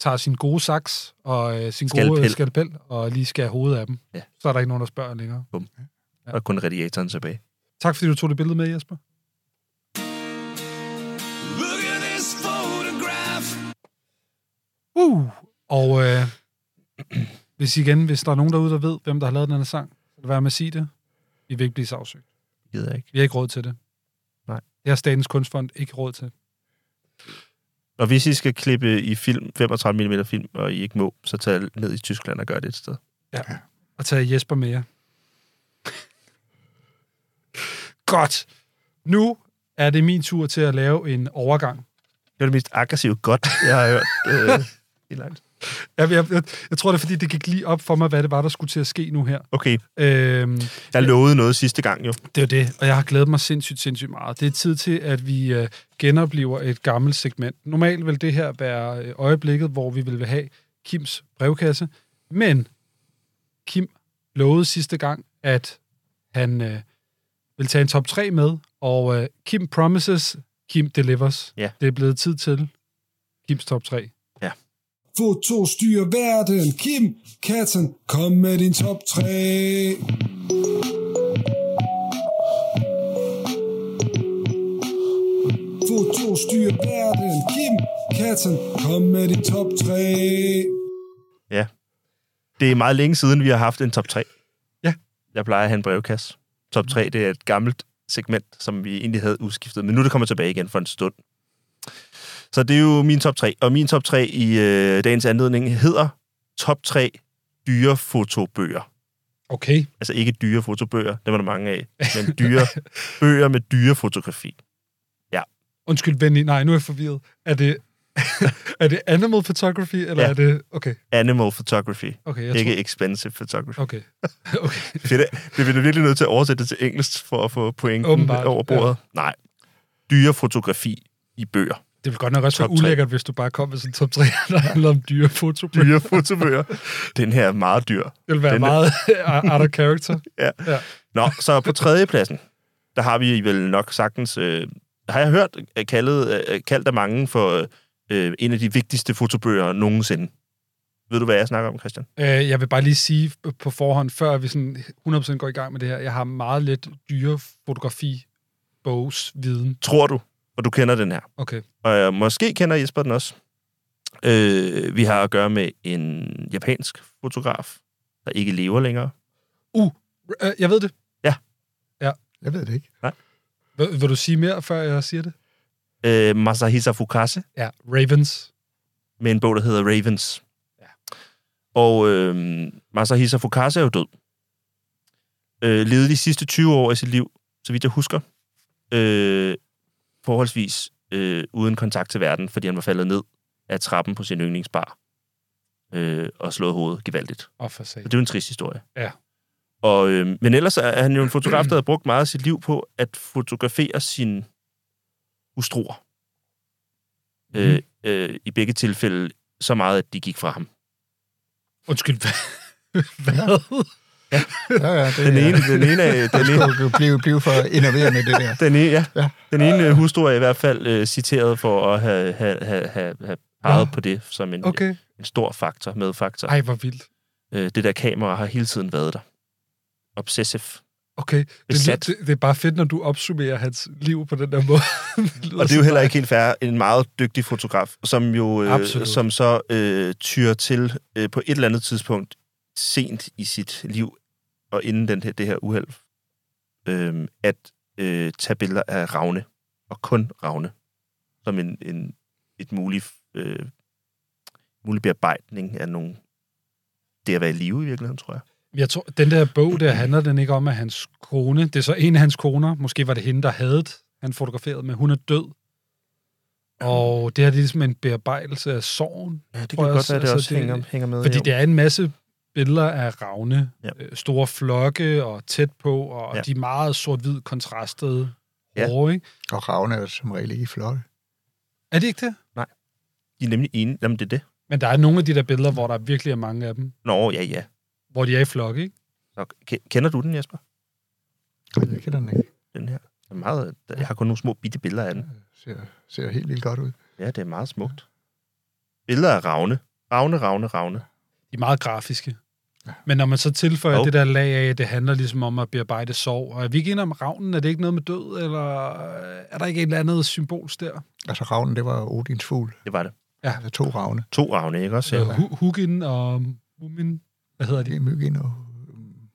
tager sin gode saks og øh, sin
Skalpel.
gode skalpel og lige skærer hovedet af dem.
Ja.
Så er der ikke nogen, der spørger længere.
Ja. Og kun radiatoren tilbage.
Tak, fordi du tog det billede med, Jesper. Uh, og øh, hvis igen, hvis der er nogen derude, der ved, hvem der har lavet den her sang, så lad være med at sige det. I vil ikke blive sagsøgt.
gider jeg ikke.
Vi har ikke råd til det.
Nej.
Det har Statens Kunstfond ikke råd til.
Og hvis I skal klippe i film, 35 mm film, og I ikke må, så tag ned i Tyskland og gør det et sted.
Og tage Jesper med jer. Godt. Nu er det min tur til at lave en overgang.
Det var det mest aggressive godt, jeg har hørt øh, i langt.
Jeg, jeg, jeg, jeg tror, det er, fordi det gik lige op for mig, hvad det var, der skulle til at ske nu her.
Okay,
Øhm,
jeg lovede noget sidste gang jo.
Det er jo det, og jeg har glædet mig sindssygt, sindssygt meget. Det er tid til, at vi øh, genoplever et gammelt segment. Normalt vil det her være øh, øjeblikket, hvor vi vil have Kims brevkasse, men Kim lovede sidste gang, at han øh, vil tage en top 3 med, og øh, Kim promises, Kim delivers.
Ja.
Det er blevet tid til Kims top 3.
Foto styrer verden. Kim, katten, kom med din top 3. Foto styrer verden. Kim, katten, kom med din top 3.
Ja. Det er meget længe siden, vi har haft en top 3.
Ja.
Jeg plejer at have en brevkasse. Top 3, det er et gammelt segment, som vi egentlig havde udskiftet, men nu er det kommer tilbage igen for en stund. Så det er jo min top 3, og min top 3 i øh, dagens anledning hedder top 3 dyre fotobøger.
Okay.
Altså ikke dyre fotobøger, det var der mange af, men dyre bøger med dyre fotografi.
Undskyld, Benny. Nej, nu er jeg forvirret. Er det, er det animal photography, eller
Ja.
ja. er det... Okay,
Animal photography,
okay. Jeg
jeg ikke expensive photography.
tror... Okay. okay.
Fedt. Vi bliver virkelig nødt til at oversætte det til engelsk for at få pointen
Åbenbart,
over bordet. Ja. Nej. Dyre fotografi i bøger.
Det ville godt nok også
Top
være
tre.
ulækkert, hvis du bare kom med sådan en top 3, der handler om dyre foto. Det
Dyre fotobøger. Den her er meget dyr.
ville være
Den-
meget out of character.
Ja.
Ja.
Nå, så på tredjepladsen, der har vi vel nok sagtens... Øh, har jeg hørt øh, kaldet, øh, kaldt af mange for øh, en af de vigtigste fotobøger nogensinde. Ved du, hvad jeg snakker om, Christian?
Øh, jeg vil bare lige sige på forhånd, før vi sådan 100% går i gang med det her, jeg har meget lidt dyre fotografi bogs viden.
Tror du, og du kender den her.
Okay.
Og øh, måske kender Jesper den også. Øh, vi har at gøre med en japansk fotograf, der ikke lever længere.
Øh, jeg ved det.
Jeg ved det ikke.
Vil, vil du sige mere, før jeg siger det?
øh, Masahisa Fukase
Ja, Ravens.
med en bog, der hedder Ravens. Ja. Og øh, Masahisa Fukase er jo død. Øh, levede de sidste 20 år af sit liv, så vidt jeg husker, øh, forholdsvis øh, uden kontakt til verden, fordi han var faldet ned af trappen på sin yndlingsbar øh, og slået hovedet gevaldigt.
Åh, oh, for sag.
Og det er jo en trist historie.
Ja.
Og, øh, men ellers er han jo en fotograf, der har brugt meget af sit liv på at fotografere sine hustruer. Mm. Øh, øh, I begge tilfælde så meget, at de gik fra ham.
Undskyld, hvad? hvad?
Ja, ja, det,
Den
er-
ene, den ene, af-
Det
den ene,
skulle jo blive, blive for innerverende, det der.
den ene, ja.
Ja.
Den ene øh, hustru er i hvert fald øh, citeret for at have, have, have, have, have peget
Nå.
på det som en, okay.
Okay.
en stor faktor, medfaktor.
Ej, hvor vildt.
Øh, det der kamera har hele tiden været der. Obsessive.
Okay, det,
Besat.
det, det, det er bare fedt, når du opsummerer hans liv på den der måde. lyder
Og det er jo
så
heller
meget-
ikke helt fair. En meget dygtig fotograf, som jo øh,
Absolut.
som så øh, tyrer til øh, på et eller andet tidspunkt sent i sit liv, og inden den her, det her uheld, øh, at øh, tage billeder af Ravne, og kun Ravne, som en, en et mulig, øh, mulig bearbejdning af nogle det at være i live i virkeligheden, tror jeg.
Jeg tror, den der bog der, handler den ikke om, at hans kone, det er så en af hans koner, måske var det hende, der havde det, han fotograferede med, hun er død. Og det her det er ligesom en bearbejdelse af sorgen,
Ja, det
kan
kan godt
også-
være, at det også
altså, det-
hænger, hænger med.
fordi
jo.
det er en masse billeder af ravne,
Ja.
ja. øh, store flokke og tæt på, og
Ja.
ja. de er meget sort-hvid kontrastede
Ja.
ja. hårde, ikke?
Og ravne er jo som regel ikke flotte.
Er det ikke det?
De er nemlig enige. Jamen, det er det.
Men der er nogle af de der billeder, hvor der virkelig er mange af dem,
Nå, ja, ja.
hvor de er i flok, ikke?
Nå, ke- kender du den, Jesper?
Jeg ved ikke, den ikke.
den her. Det er meget, jeg har kun nogle små bitte billeder af den.
Ser, ser helt vildt godt ud.
Ja, det er meget smukt. Billeder af Ravne. Ravne, Ravne, Ravne.
De er meget grafiske. Men når man så tilføjer
Jo.
det der lag af, at det handler ligesom om at bearbejde sorg, og er vi ikke enige om ravnen? Er det ikke noget med død, eller øh, er der ikke et eller andet symbol der?
Altså ravnen, det var Odins fugl.
Det var det.
Altså to ravne.
To Ravne, ikke også?
Så
Ja.
Øh, hu- Hugin og Mumin, hvad hedder
Det
de?
er Myggen og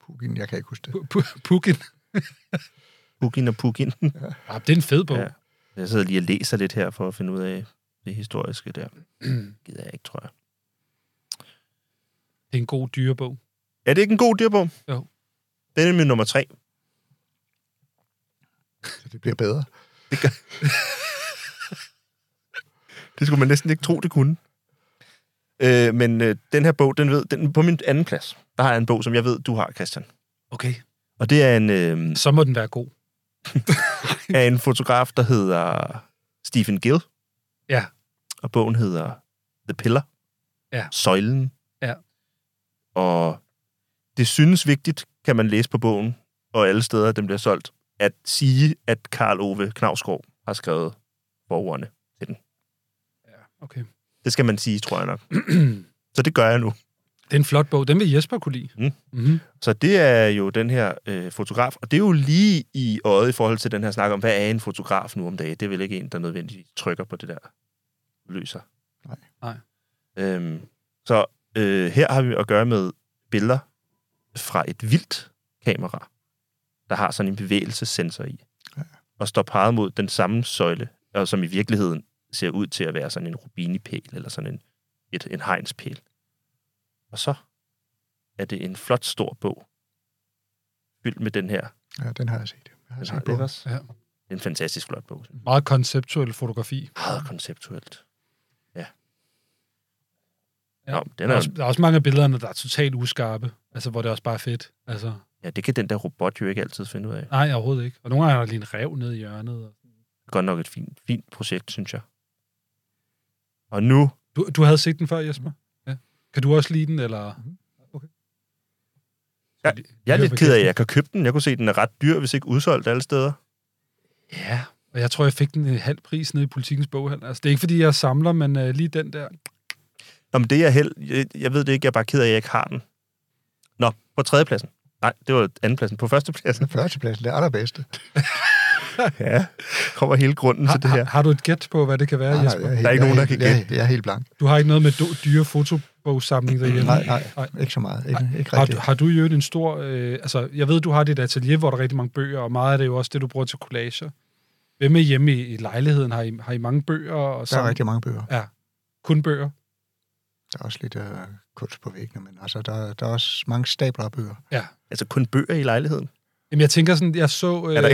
Pugin, jeg kan ikke huske det.
Pu- Pu- Pugin.
Bugin og Pugin.
Ah, det er en fed bog.
Ja.
Ja.
Jeg sidder lige og læser lidt her for at finde ud af det historiske der. Gider jeg ikke, tror jeg.
Det er en god dyrebog.
Er det ikke en god dyrbog?
Jo.
Den er min nummer tre.
Så det bliver bedre.
Det skulle man næsten ikke tro, det kunne. Øh, men øh, den her bog, den ved, den, på min anden plads, der har jeg en bog, som jeg ved, du har, Christian.
Okay.
Og det er en, øh,
Så må den være god.
er en fotograf, der hedder Stephen Gill.
Ja.
Og bogen hedder The Pillar.
Ja.
Søjlen.
Ja.
Og det synes vigtigt, kan man læse på bogen, og alle steder, den bliver solgt, at sige, at Karl Ove Knavsgaard har skrevet borgerne.
Okay.
Det skal man sige, tror jeg nok. Så det gør jeg nu.
Det er en flot bog. Den vil Jesper kunne lide.
Mm.
Mm-hmm.
Så det er jo den her øh, fotograf, og det er jo lige i øjet i forhold til den her snak om, hvad er en fotograf nu om dagen? Det er vel ikke en, der nødvendigvis trykker på det der løser.
Nej.
Nej.
Øhm, så øh, her har vi at gøre med billeder fra et vildt kamera, der har sådan en bevægelsessensor i,
Ja.
og står peget mod den samme søjle, og som i virkeligheden ser ud til at være sådan en rubinipæl, eller sådan en, et, en hegnspæl. Og så er det en flot stor bog, fyldt med den her.
Ja, den har jeg set. Jeg har
Den
set
har det
bogen.
også.
Ja.
Det er en fantastisk flot bog.
Meget konceptuel fotografi.
Meget konceptuelt. Ja.
Ja.
ja. Nå, den
Der er,
er,
også, der er også mange af billederne, der er totalt uskarpe. Altså, hvor det også bare er fedt. Altså,
ja, det kan den der robot jo ikke altid finde ud af.
nej, overhovedet ikke. Og nogle gange er der lige en rev nede i hjørnet.
Godt nok et fint, fint projekt, synes jeg. Og nu
Du, du havde set den før, Jesper? Ja. Kan du også lide den, eller? Okay.
Ja,
Skal vi-
Jeg er
høre,
lidt
hvad
ked af, at
Kirsten-
jeg kan købe den. Jeg kunne se, at den er ret dyr, hvis ikke udsolgt alle steder.
Ja, og jeg tror, jeg fik den i halv pris nede i politikens boghandel. Altså, det er ikke, fordi jeg samler, men øh, lige den der.
Nå, men det er jeg held. Jeg, jeg ved det ikke. Jeg er bare ked af, at jeg ikke har den. Nå, på tredjepladsen. Nej, det var andenpladsen. På førstepladsen.
Den førstepladsen, det er allerbedste.
Ja, kommer hele grunden til det
Har,
her.
har, har du et gæt på, hvad det kan være,
Nej, nej,
Jesper?
jeg helt-
Der er ikke
jeg
nogen, der
helt-
kan
jeg- Jeg er helt blank.
Du har ikke noget med do, dyre fotobogssamling derhjemme?
Nej, nej, ikke så meget. Ikke, ikke
Har, du-
rigtigt.
har du jo en stor... Øh, altså, jeg ved, du har dit atelier, hvor der er rigtig mange bøger, og meget af det er jo også det, du bruger til collager. Hvem er hjemme i, i lejligheden? Har I, har I mange bøger? Og
Der er
sådan?
rigtig mange bøger.
Kun bøger?
Der er også lidt øh, kunst på væggene, men altså, der, der er også mange stabler af bøger.
Altså kun bøger i lejligheden.
Jamen, jeg tænker sådan, jeg så... Øh,
Er der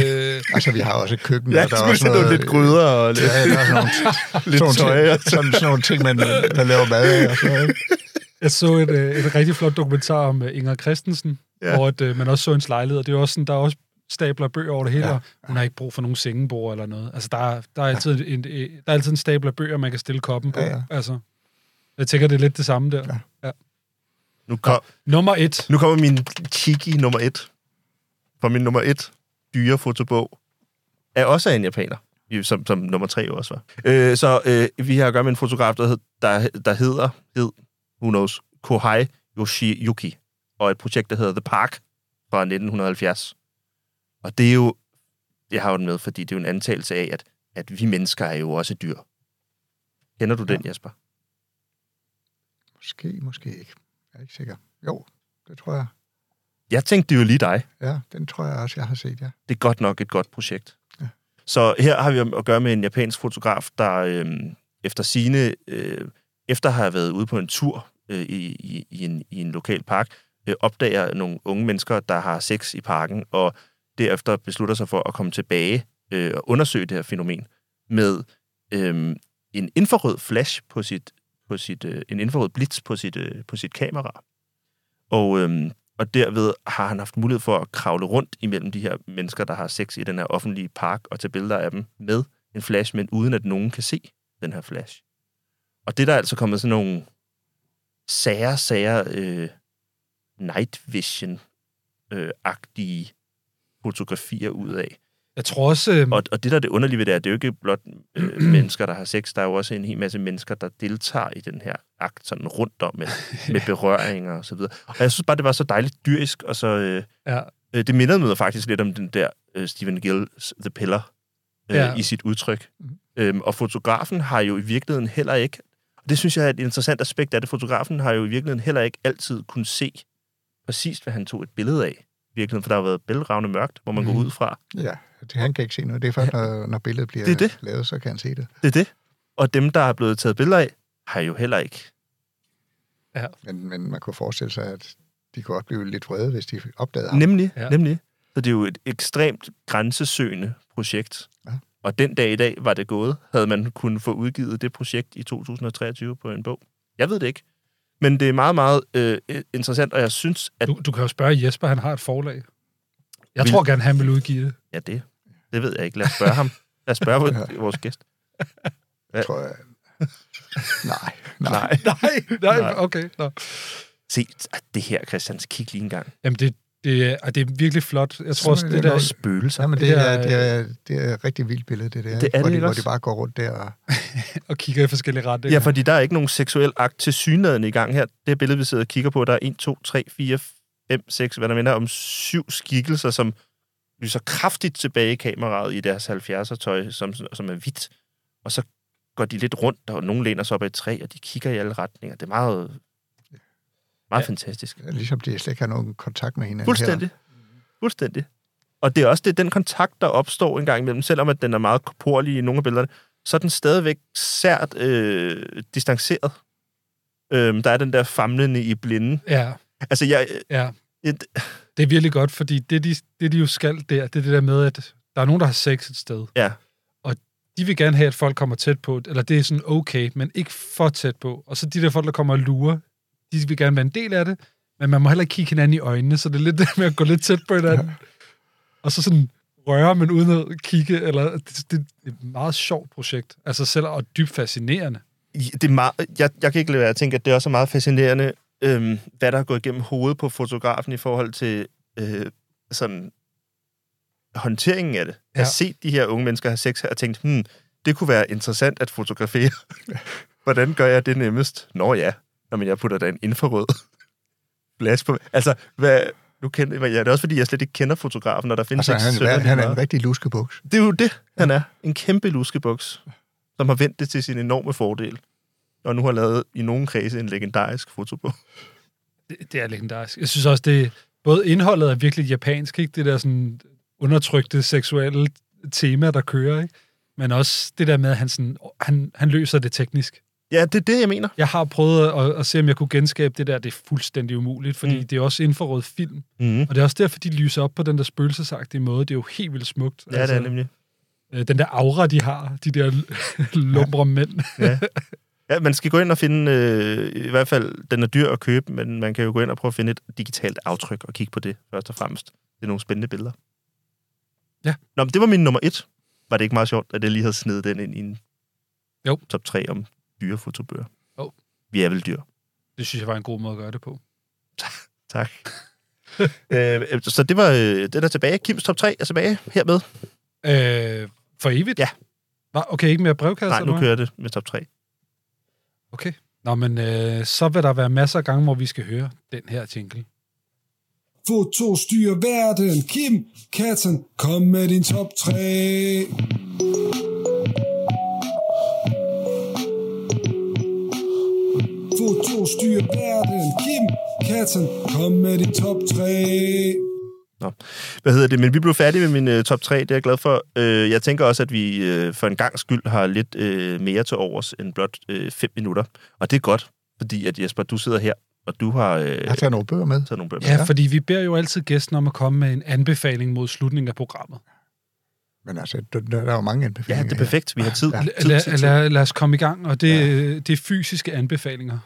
Altså, vi har også et køkken,
Ja,
og
der
der er
skulle
også
se noget, lidt gryder og lidt,
Ja, der er sådan nogle,
lidt
sådan,
tøj.
nogle
og
ting, sådan, sådan nogle ting, man, man laver mad af. Og så, ikke?
Jeg så et, øh, et rigtig flot dokumentar om øh, Inger Christensen,
Ja.
ja. hvor at, øh, man også så hendes lejlighed. og Det er jo også sådan, der er også stabler af bøger over det hele,
Ja.
ja. og hun har ikke brug for nogen sengebord eller noget. Altså, der er, der er, altid, en, øh, der er altid en stabler af bøger, man kan stille koppen på.
Ja, ja.
Altså, jeg tænker, det er lidt det samme der.
Ja.
Ja.
Nu, kom,
Nummer et.
nu kommer min chiki nummer et. For min nummer et dyre fotobog er også af en japaner, jo, som, som nummer tre jo også var. Øh, så øh, vi har at gøre med en fotograf, der, hed, der, der hedder, hed, who knows, Kohai Yoshiyuki, og et projekt, der hedder The Park fra 1970. Og det er jo, jeg har jo den med, fordi det er jo en antagelse af, at, at vi mennesker er jo også dyr. Kender du den, Jesper?
Måske, måske ikke. Jeg er ikke sikker. Jo, det tror jeg.
Jeg tænkte det er jo lige dig.
Ja, den tror jeg også, jeg har set, ja.
det er godt nok et godt projekt.
Ja.
Ja. Så her har vi at gøre med en japansk fotograf, der øh, efter sine, øh, efter at have været ude på en tur øh, i, i, i, en, i en lokal park, øh, opdager nogle unge mennesker, der har sex i parken, og derefter beslutter sig for at komme tilbage øh, og undersøge det her fænomen med øh, en infrarød flash på sit, på sit øh, en infrarød blitz på sit, øh, på sit kamera. Og øh, og derved har han haft mulighed for at kravle rundt imellem de her mennesker, der har sex i den her offentlige park, og tage billeder af dem med en flash, men uden at nogen kan se den her flash. Og det er der altså kommet sådan nogle sager, sager øh, night vision-agtige fotografier ud af.
Jeg tror også... Øh,
Og, og det, der er det underlige ved det, er, det er jo ikke blot øh, mennesker, der har sex. Der er jo også en hel masse mennesker, der deltager i den her akt sådan rundt om med, med berøringer og så videre. Og jeg synes bare, det var så dejligt dyrisk, og så... Øh,
ja,
Øh, det minder mig faktisk lidt om den der øh, Stephen Gills The Pillar øh,
Ja. Mm.
i sit udtryk.
Mhm.
Øhm, og fotografen har jo i virkeligheden heller ikke, og det synes jeg er et interessant aspekt af det, fotografen har jo i virkeligheden heller ikke altid kunnet se præcis, hvad han tog et billede af. I virkeligheden, for der har været bælragende mørkt, hvor man mm. går
Mhm.
ud fra.
Ja, Det, han kan ikke se noget. Det er først, når, når billedet bliver
Det er det.
lavet, så kan han se det.
Det er det. Og dem, der er blevet taget billeder af, har jo heller ikke.
Men, men man kunne forestille sig, at de kunne godt blive lidt vrede, hvis de opdagede ham.
Nemlig,
Ja.
ja. nemlig. Så det er jo et ekstremt grænsesøgende projekt.
Ja.
Ja. Og den dag i dag var det gået, havde man kunnet få udgivet det projekt i 2023 på en bog. Jeg ved det ikke. Men det er meget, meget øh, interessant, og jeg synes, at...
Du, du kan jo spørge Jesper, han har et forlag. Jeg
Vil-
tror gerne, han vil udgive det.
Ja, det, det ved jeg ikke. Lad os spørge ham. Lad os spørge vores, vores gæst.
Jeg tror, jeg... Nej, nej. nej.
Nej.
Nej, nej,
Nej.
okay. Nå.
Se, ah, det her, Christian, kig lige en gang.
Jamen, det, det, er, og det er virkelig flot. Jeg tror også,
Sådan er
det
det
der...
nok.
Spøgelser.
Jamen, det,
Det
er,
er-
det, er, det er et rigtig vildt billede, det der.
Det er
hvor,
det
de,
ikke
hvor
også?
de bare går rundt der. Og,
Og kigger i forskellige retninger.
Ja, fordi der er ikke nogen seksuel akt til synligheden i gang her. Det billede, vi sidder og kigger på, der er 1, 2, 3, 4, 5, 6, hvad der minder om syv skikkelser, som lyser kraftigt tilbage i kameraet i deres 70'er-tøj, som, som er hvidt. Og så går de lidt rundt, og nogen læner sig op ad et træ, og de kigger i alle retninger. Det er meget, meget ja. fantastisk.
ligesom de slet ikke har nogen kontakt med hinanden.
Fuldstændig. Fuldstændig. Og det er også det, den kontakt, der opstår en gang imellem, selvom at den er meget korporlig i nogle af billederne, så er den stadigvæk sært øh, distanceret. Øhm, der er den der famlende i blinde.
Ja,
Altså, jeg,
ja.
et,
Det er virkelig godt, fordi det de, det, de jo skal der, det er det der med, at der er nogen, der har sex et sted.
Ja.
Og de vil gerne have, at folk kommer tæt på, eller det er sådan okay, men ikke for tæt på. Og så de der folk, der kommer og lurer, de vil gerne være en del af det, men man må heller ikke kigge hinanden i øjnene, så det er lidt det med at gå lidt tæt på hinanden. Ja. Og så sådan røre, men uden at kigge, eller det, det er et meget sjovt projekt. Altså selv og dybt fascinerende.
det er meget, jeg, jeg kan ikke lade være at tænke, at det også er meget fascinerende, øhm, hvad der er gået igennem hovedet på fotografen i forhold til øh, sådan håndteringen af det. Ja. Jeg
Ja.
har set de her unge mennesker have sex her og tænkt, hmm, det kunne være interessant at fotografere. Hvordan gør jeg det nemmest? Nå ja, Nå, men jeg putter da en infrarød flash på. Altså, hvad, nu kender, ja, det er også fordi, jeg slet ikke kender fotografen, og der findes
Altså,
ikke
han,
synderligt
han er
meget.
en rigtig luskebuks.
Det er jo det, han er. En kæmpe luskebuks, som har vendt det til sin enorme fordel. Og nu har lavet i nogen kredse en legendarisk fotobog.
Det, det er legendarisk. Jeg synes også, det både indholdet er virkelig japansk, ikke? Det der sådan undertrykte seksuelle tema, der kører, ikke? Men også det der med, at han, sådan, han, han løser det teknisk.
Ja, det er det, jeg mener.
Jeg har prøvet at, at se, om jeg kunne genskabe det der. Det er fuldstændig umuligt, fordi mm.
Mm.
det er også infrarød film.
Mm.
Og det er også derfor, de lyser op på den der spøgelsesagtige måde. Det er jo helt vildt smukt. Altså,
Ja, det er nemlig.
øh, den der aura, de har, de der lumre mænd.
Ja, man skal gå ind og finde, øh, i hvert fald, den er dyr at købe, men man kan jo gå ind og prøve at finde et digitalt aftryk og kigge på det, først og fremmest. Det er nogle spændende billeder.
Ja.
Nå, men det var min nummer et. Var det ikke meget sjovt, at jeg lige havde snedet den ind i en
Jo.
top 3 om dyre fotobøger?
Jo.
Vi er vel dyr.
Det synes jeg var en god måde at gøre det på.
Tak. øh, så det var øh, den er tilbage. Kims top 3 er tilbage hermed.
Øh, for evigt?
Ja.
Hva- Okay, ikke mere brevkasse?
Nej,
eller
nu
hvad?
kører det med top 3.
Okay. Nå, men øh, så vil der være masser af gange, hvor vi skal høre den her jingle.
Foto styrer verden. Kim, katten, kom med din top 3. Foto styrer verden. Kim, katten, kom med din top 3.
Nå. Hvad hedder det? Men vi blev færdige med min øh, top 3, det er jeg glad for. Øh, jeg tænker også, at vi øh, for en gang skyld har lidt øh, mere til overs end blot 5 minutter. Og det er godt, fordi at Jesper, du sidder her, og du har øh,
Jeg Altså, har taget nogle bøger med.
taget nogle bøger.
Ja, fordi vi beder jo altid gæsten om at komme med en anbefaling mod slutningen af programmet.
Men altså, der, der er jo mange
Ja,
anbefalinger.
det er perfekt. Vi har tid.
Ja.
tid,
Lad,
tid, tid.
lad, lad os komme i gang, og det, ja. det er fysiske anbefalinger.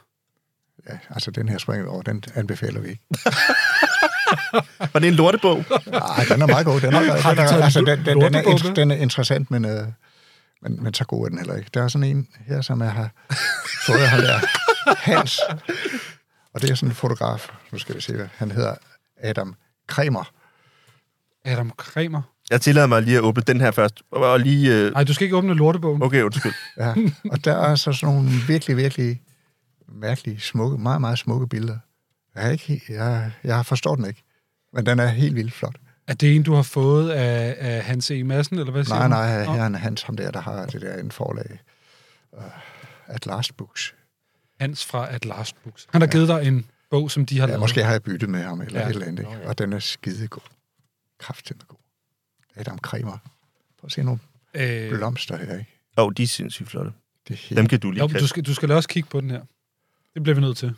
her. Ja, altså, den her springer vi over, den anbefaler vi ikke.
Var det en lortebog?
Nej, den er meget god. Den er,
Har
den
du taget
er,
en
altså, den, den, den, er,
lortebog med?
int- den er interessant, men, øh, men, men så god er den heller ikke. Der er sådan en her, som jeg har fået af ham der, Hans. Og det er sådan en fotograf, nu skal vi se, hvad han hedder Adam Kremer.
Adam Kremer.
Jeg tillader mig lige at åbne den her først. Og og lige... Øh,
Nej, du skal ikke åbne lortebogen.
okay, undskyld.
Ja. Og der er så sådan nogle virkelig, virkelig mærkelige, smukke, meget, meget smukke billeder. Jeg, har ikke, he- jeg, jeg forstår den ikke, men den er helt vildt flot.
Er det en, du har fået af, af Hans E. Madsen, eller hvad siger
Nej,
du?
nej, her
Nå,
er Hans, ham der, der har det der en forlag. Uh, At Last Books.
Hans fra At Last Books. Han har givet dig en bog, som
Mm.
de har
Ja,
lavet.
måske har jeg byttet med ham, eller
Ja.
ja. et eller andet. Ikke? Og den er skidegod. Kraftig god. Adam Kremer. Prøv at se nogle
Øh,
blomster her, ikke?
Åh, oh, de er sindssygt flotte.
Det er
Dem
helt...
kan du lige
jo,
jo,
men du, skal, du skal også kigge på den her. Det bliver vi nødt til.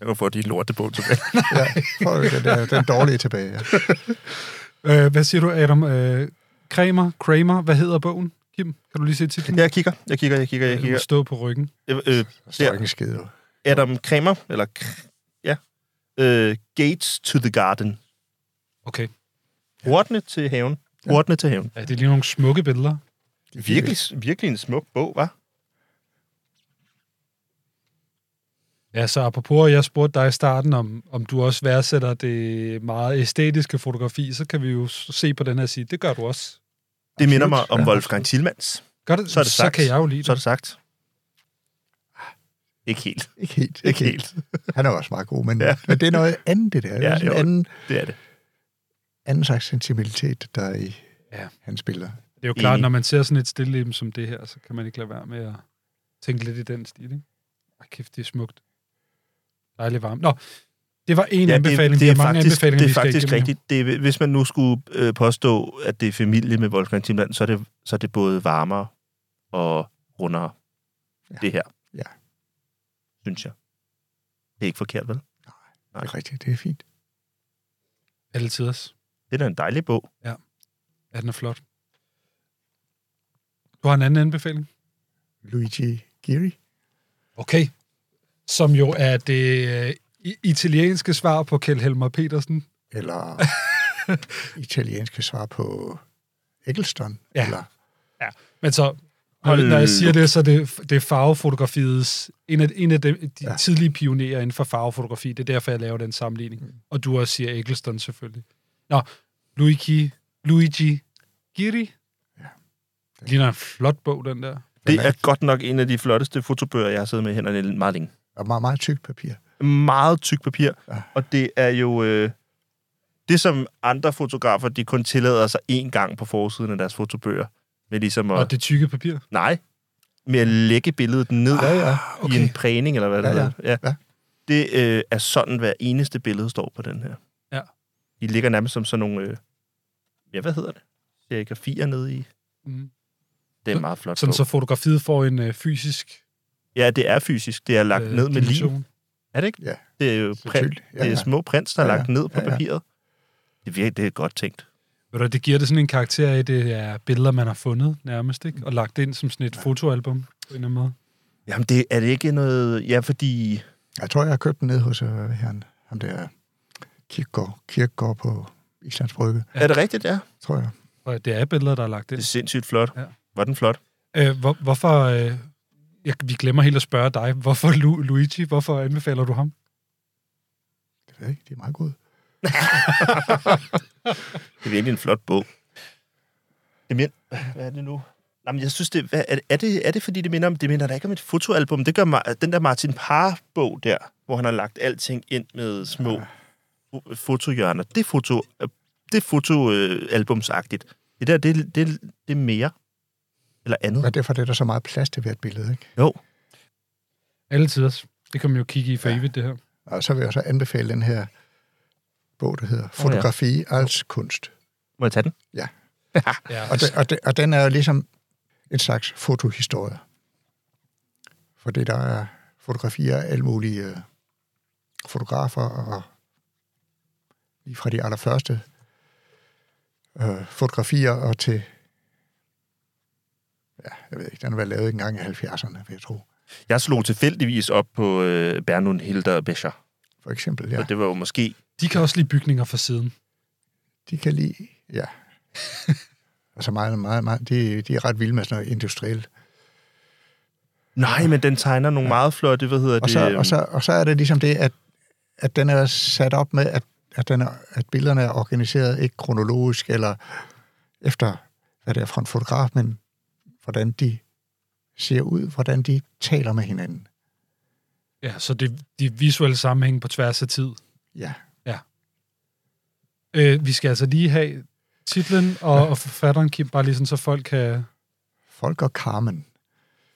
Jeg kan få de lorte på tilbage.
Ja, prøv at den, der, den dårlige tilbage. Ja.
Øh, hvad siger du, Adam? Øh, Kramer, Kramer, hvad hedder bogen? Kim, kan du lige se titlen?
jeg kigger, jeg kigger, jeg kigger, jeg
Den
kigger.
stå på ryggen.
Øh, øh,
Der står
Der.
ikke en skid. jo.
Adam Kramer, eller... Kr- Ja. Øh, Gates to the Garden.
Okay.
Hortene til haven. Hortene til haven.
Ja, det er lige nogle smukke billeder.
De er
Virkelig, virkelig en smuk bog, hva'?
Ja, så apropos, jeg spurgte dig i starten, om, om du også værdsætter det meget æstetiske fotografi, så kan vi jo s- se på den her side. Det gør du også.
Det minder
Absolut.
mig om
Ja,
Wolfgang Tillmans.
Gør det,
Så er det
så
sagt.
kan jeg jo lide
Så er
det.
det sagt. Ikke helt.
Ikke helt.
Ikke helt.
Han er også meget god, men,
Ja.
ja. men det er noget andet, det der. Det
Ja,
er sådan en
jo.
anden,
Det er det.
anden slags sensibilitet, der er i
Ja.
ja. hans billeder.
Det er jo klart,
Enig.
når man ser sådan et stilleben som det her, så kan man ikke lade være med at tænke lidt i den stil, ikke? Ej, kæft, det er smukt. Dejligt varmt. Nå, det var en ja, anbefaling. Det, det er mange
faktisk,
anbefalinger,
det er
vi skal
faktisk
igennem nu.
rigtigt. Det er, hvis man nu skulle øh, påstå, at det er familie med Wolfgang Timland, så er det, så er det både varmere og rundere, ja.
Ja.
det her.
Ja.
Synes jeg. Det er ikke forkert, vel?
Det er rigtigt, det er fint.
Alle tiders.
Det er da en dejlig bog.
Ja, den er flot. Du har en anden anbefaling?
Luigi Giri.
Okay. Som jo er det øh, i- italienske svar på Kjell Helmer Petersen.
eller italienske svar på Eggleston.
Ja.
Eller,
Men så, når, når jeg siger det, så er det, det er farvefotografiets, en af, en af de, de ja.
Ja.
tidlige pionerer inden for farvefotografi. Det er derfor, jeg laver den sammenligning. Mm. Og du også siger Eggleston selvfølgelig. Nå, Luigi, Luigi Giri. Ja.
Ja.
Det ligner en flot bog, den der.
Det
Den er-
er godt nok en af de flotteste fotobøger, jeg har siddet med i hænderne i meget længe.
og meget, meget tykt papir.
Meget tyk papir,
Ja.
og det er jo... Øh, det, som andre fotografer, de kun tillader sig én gang på forsiden af deres fotobøger, med ligesom at...
Og det tykke papir.
Nej. Med at lægge billedet ned ah, ja, okay. i en prægning, eller hvad det
Ja, ja.
hedder. Ja.
Ja.
Det øh, er sådan, hver eneste billede står på den her.
Ja.
De ligger nærmest som sådan nogle... Øh, ja, hvad hedder det? Serigrafier nede i.
Mm.
Det er meget flot.
Sådan
bog.
så fotografiet får en øh, fysisk
Ja, det er fysisk. Det er lagt
øh,
ned med lim.
dimension.
Er det ikke?
Ja.
Det er jo print.
Selvfølgelig.
Ja, ja. Det er små prints, der er
Ja, ja.
lagt ned på
Ja, ja.
papiret. Det, virker, det er godt tænkt.
Ved du, det giver det sådan en karakter af, at det er billeder, man har fundet nærmest, ikke? Og lagt ind som sådan et fotoalbum på en eller anden måde.
Jamen, det, er det ikke noget... Ja, fordi...
Jeg tror, jeg har købt den ned hos øh, han, ham der Kirkegaard, Kirkegaard på Islands Brygge,
Ja.
Ja. Er det rigtigt, ja?
tror jeg.
Og det er billeder, der er lagt
Det er
ind.
sindssygt flot.
Ja.
Ja. Var den flot?
Øh, hvor, hvorfor... Øh, jeg, vi glemmer helt at spørge dig. Hvorfor Lu, Luigi? Hvorfor anbefaler du ham?
Det ved jeg ikke, det er meget godt.
Det er virkelig en flot bog. Det min... Hvad er det nu? Nej, men jeg synes, det... Hvad, er, det- er, det, er det, fordi det minder om... Det minder da ikke om et fotoalbum. Det gør Ma- den der Martin Parr-bog der, hvor han har lagt alting ind med små fo- fotohjørner. Det er foto... Det er fotoalbumsagtigt. Det der, det, det, det er mere. Eller andet.
Men derfor er det der så meget plads til hvert billede, ikke?
Jo.
Alle tiders. Det kan man jo kigge i for ja.
Ja.
evigt, det her.
Og så vil jeg så anbefale den her bog, der hedder Fotografi, oh, ja. als kunst.
Må jeg tage den?
Ja,
Og, det, og, det, og den er jo ligesom en slags fotohistorie. For det der er fotografier af alle mulige øh, fotografer, og lige fra de allerførste øh, fotografier og til, ja, jeg ved ikke, den var lavet engang i 70'erne, vil jeg tro.
Jeg slog tilfældigvis op på øh, Bernund Hilder og Becher.
For eksempel,
Ja.
ja.
Og det var jo måske...
De kan også lide bygninger fra siden.
De kan lide, ja. altså meget, meget, meget, de, de er ret vilde med sådan noget industrielt.
Nej, men den tegner nogle ja. meget flotte, hvad hedder
Og
det?
så,
øhm,
og, så, og så er det ligesom det, at, at den er sat op med, at, at, den er, at billederne er organiseret ikke kronologisk eller efter, hvad det er for en fotograf, men hvordan de ser ud, hvordan de taler med hinanden.
Ja, så det, de visuelle sammenhæng på tværs af tid.
Ja,
Øh, vi skal altså lige have titlen og, og forfatteren, Kim, bare lige sådan, så folk kan...
folk og Carmen.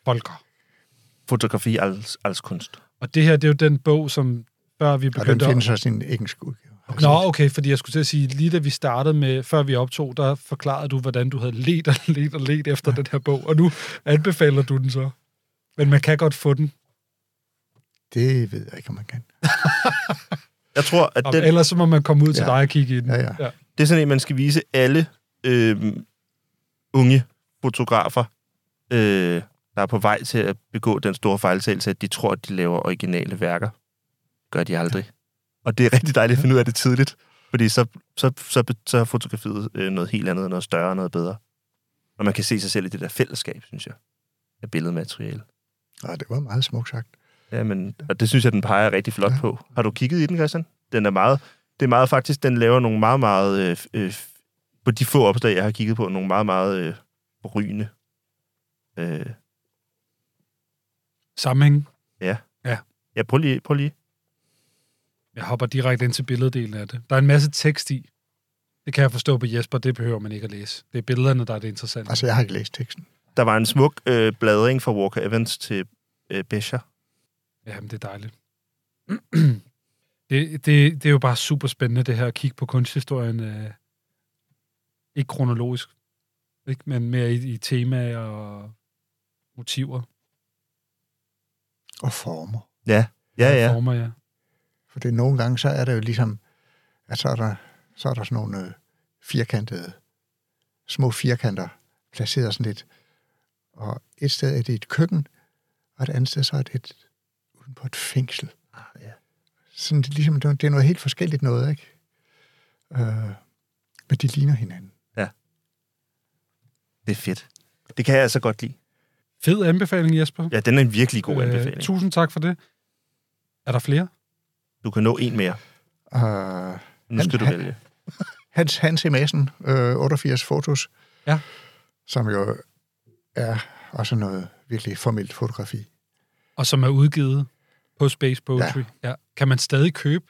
Folker.
øhm, fotografi als, als kunst.
Og det her, det er jo den bog, som før vi
Og den
begyndte at
findes også i en engelsk udgave.
Nå, okay, fordi jeg skulle til at sige, lige da vi startede med, før vi optog, der forklarede du, hvordan du havde let og let og let efter den her bog, og nu anbefaler du den så. Men man kan godt få den.
Det ved jeg ikke, om man kan.
Jeg tror, at
Og
den,
Ellers så må man komme ud til
Ja.
dig og kigge i den.
Ja, ja.
det er sådan en, man skal vise alle øh, unge fotografer, øh, der er på vej til at begå den store fejltagelse, at de tror, at de laver originale værker. Det gør de aldrig. Og det er rigtig dejligt at finde ud af det tidligt, fordi så, så, så, så er fotografiet øh, noget helt andet, noget større, noget bedre. Og man kan se sig selv i det der fællesskab, synes jeg, af billedmateriale.
Nå, det var meget smukt sagt.
Ja, men, og det synes jeg, den peger rigtig flot
Ja.
på. Har du kigget i den, Christian? Den er meget, det er meget faktisk, den laver nogle meget, meget, øh, f- øh, f- på de få opslag, jeg har kigget på, nogle meget, meget øh, rygende. Øh,
Sammenhæng.
ja, prøv lige, prøv lige.
Jeg hopper direkte ind til billeddelen af det. Der er en masse tekst i. Det kan jeg forstå på Jesper, det behøver man ikke at læse. Det er billederne, der er det interessante.
Altså, jeg har ikke læst teksten.
Der var en smuk øh, bladring fra Walker Evans til øh, Bescher.
Jamen, det er dejligt. det, det, det er jo bare super spændende, det her at kigge på kunsthistorien. Øh, ikke kronologisk, ikke, men mere i, i temaer og motiver
Og former.
Ja,
og
ja.
former, ja.
Fordi nogle gange, så er det jo ligesom, at så er der, så er der sådan nogle øh, firkantede, små firkanter, placeret sådan lidt. Og et sted er det et køkken, og et andet sted så er det et, uden på et fængsel.
ja.
Sådan det, er ligesom, det er- det er noget helt forskelligt noget, ikke? Øh, men de ligner hinanden.
Det er fedt. Det kan jeg altså godt lide.
Fed anbefaling, Jesper.
Ja, den er en virkelig god
Øh,
anbefaling.
tusind tak for det. Er der flere?
Du kan nå en mere.
Øh,
Nu
Han-
skal du
han-
vælge.
Hans, Hans E. Madsen, øh, 88 Fotos,
Ja.
som jo er også noget virkelig formelt fotografi.
Og som er udgivet på Space Poetry. Ja. ja. Kan man stadig købe?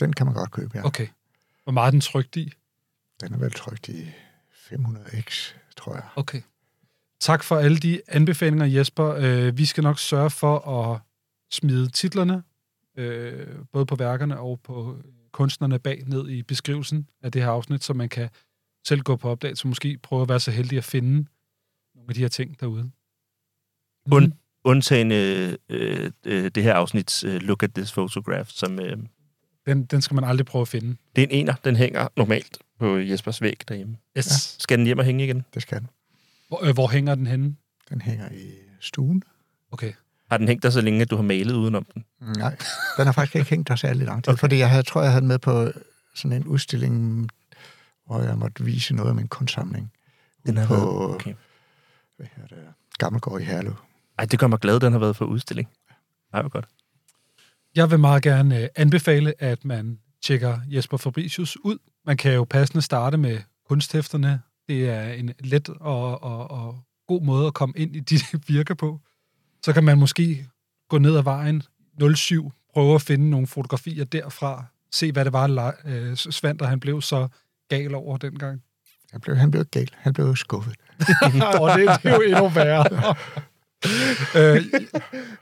Den kan man godt købe, ja.
Okay. Hvor meget er den trygt i?
Den er vel trygt i 500x, tror jeg.
Okay. Tak for alle de anbefalinger, Jesper. Øh, vi skal nok sørge for at smide titlerne, øh, både på værkerne og på kunstnerne bag, ned i beskrivelsen af det her afsnit, så man kan selv gå på opdagelse og måske prøve at være så heldig at finde nogle af de her ting derude.
Und- Undtagen øh, øh, øh, det her afsnits øh, Look at this photograph, som øh,
Den, den skal man aldrig prøve at finde.
Det er en ener, den hænger normalt på Jespers væg derhjemme.
Yes.
Skal den hjem og hænge igen?
Det skal den.
Hvor, øh, hvor hænger den henne?
Den hænger i stuen.
Okay.
Har den hængt der så længe, at du har malet udenom den?
Nej, den har faktisk ikke hængt der særlig lang tid,
Okay.
okay. fordi jeg havde, tror, jeg havde den med på sådan en udstilling, hvor jeg måtte vise noget af min kunstsamling.
Den har
på,
været- okay.
okay. hvad hedder det, Gammelgård i Herlev.
Ej, det gør mig glad, den har været for udstilling. Ej, hvor godt.
Jeg vil meget gerne øh, anbefale, at man tjekker Jesper Fabricius ud. Man kan jo passende starte med kunsthæfterne. Det er en let og, og, og god måde at komme ind i de virker på. Så kan man måske gå ned ad vejen 07, prøve at finde nogle fotografier derfra, se hvad det var, la- øh, Svander han blev så gal over dengang.
Han blev, han blev ikke gal, han blev skuffet.
og det, det er jo endnu værre. øh,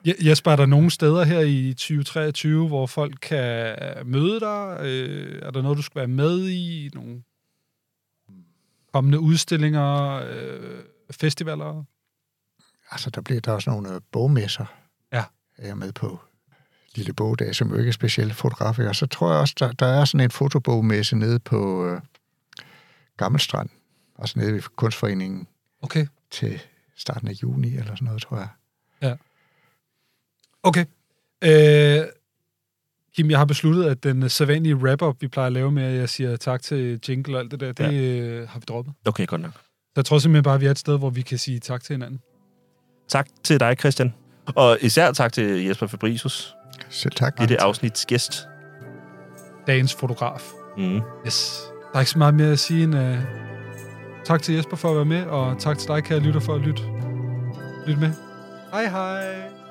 Je- Jesper, er der nogle steder her i 2023, hvor folk kan møde dig? Øh, er der noget, du skal være med i? Nogle kommende udstillinger? Øh, festivaler?
Altså, der blev der også nogle øh, bogmesser,
Ja.
jeg er med på. Lille bogdag, som jo ikke er specielt fotografer. Og så tror jeg også, der, der er sådan en fotobogmesse nede på øh, Gammelstrand, altså nede ved Kunstforeningen.
Okay.
til starten af juni eller sådan noget, tror jeg.
Okay. Øh, Kim, jeg har besluttet, at den øh, sædvanlige wrap-up, vi plejer at lave med, at jeg siger tak til Jingle og alt det der, det
Ja.
øh, har vi droppet.
Okay, godt nok.
Så jeg tror simpelthen bare, at vi er et sted, hvor vi kan sige tak til hinanden.
Tak til dig, Christian. Og især tak til Jesper Fabricius,
Selv tak.
det er det afsnits gæst.
Dagens fotograf.
Mm.
Yes. Der er ikke så meget mere at sige end uh, tak til Jesper for at være med, og tak til dig, kære lytter, for at lytte, lytte med. Hej hej.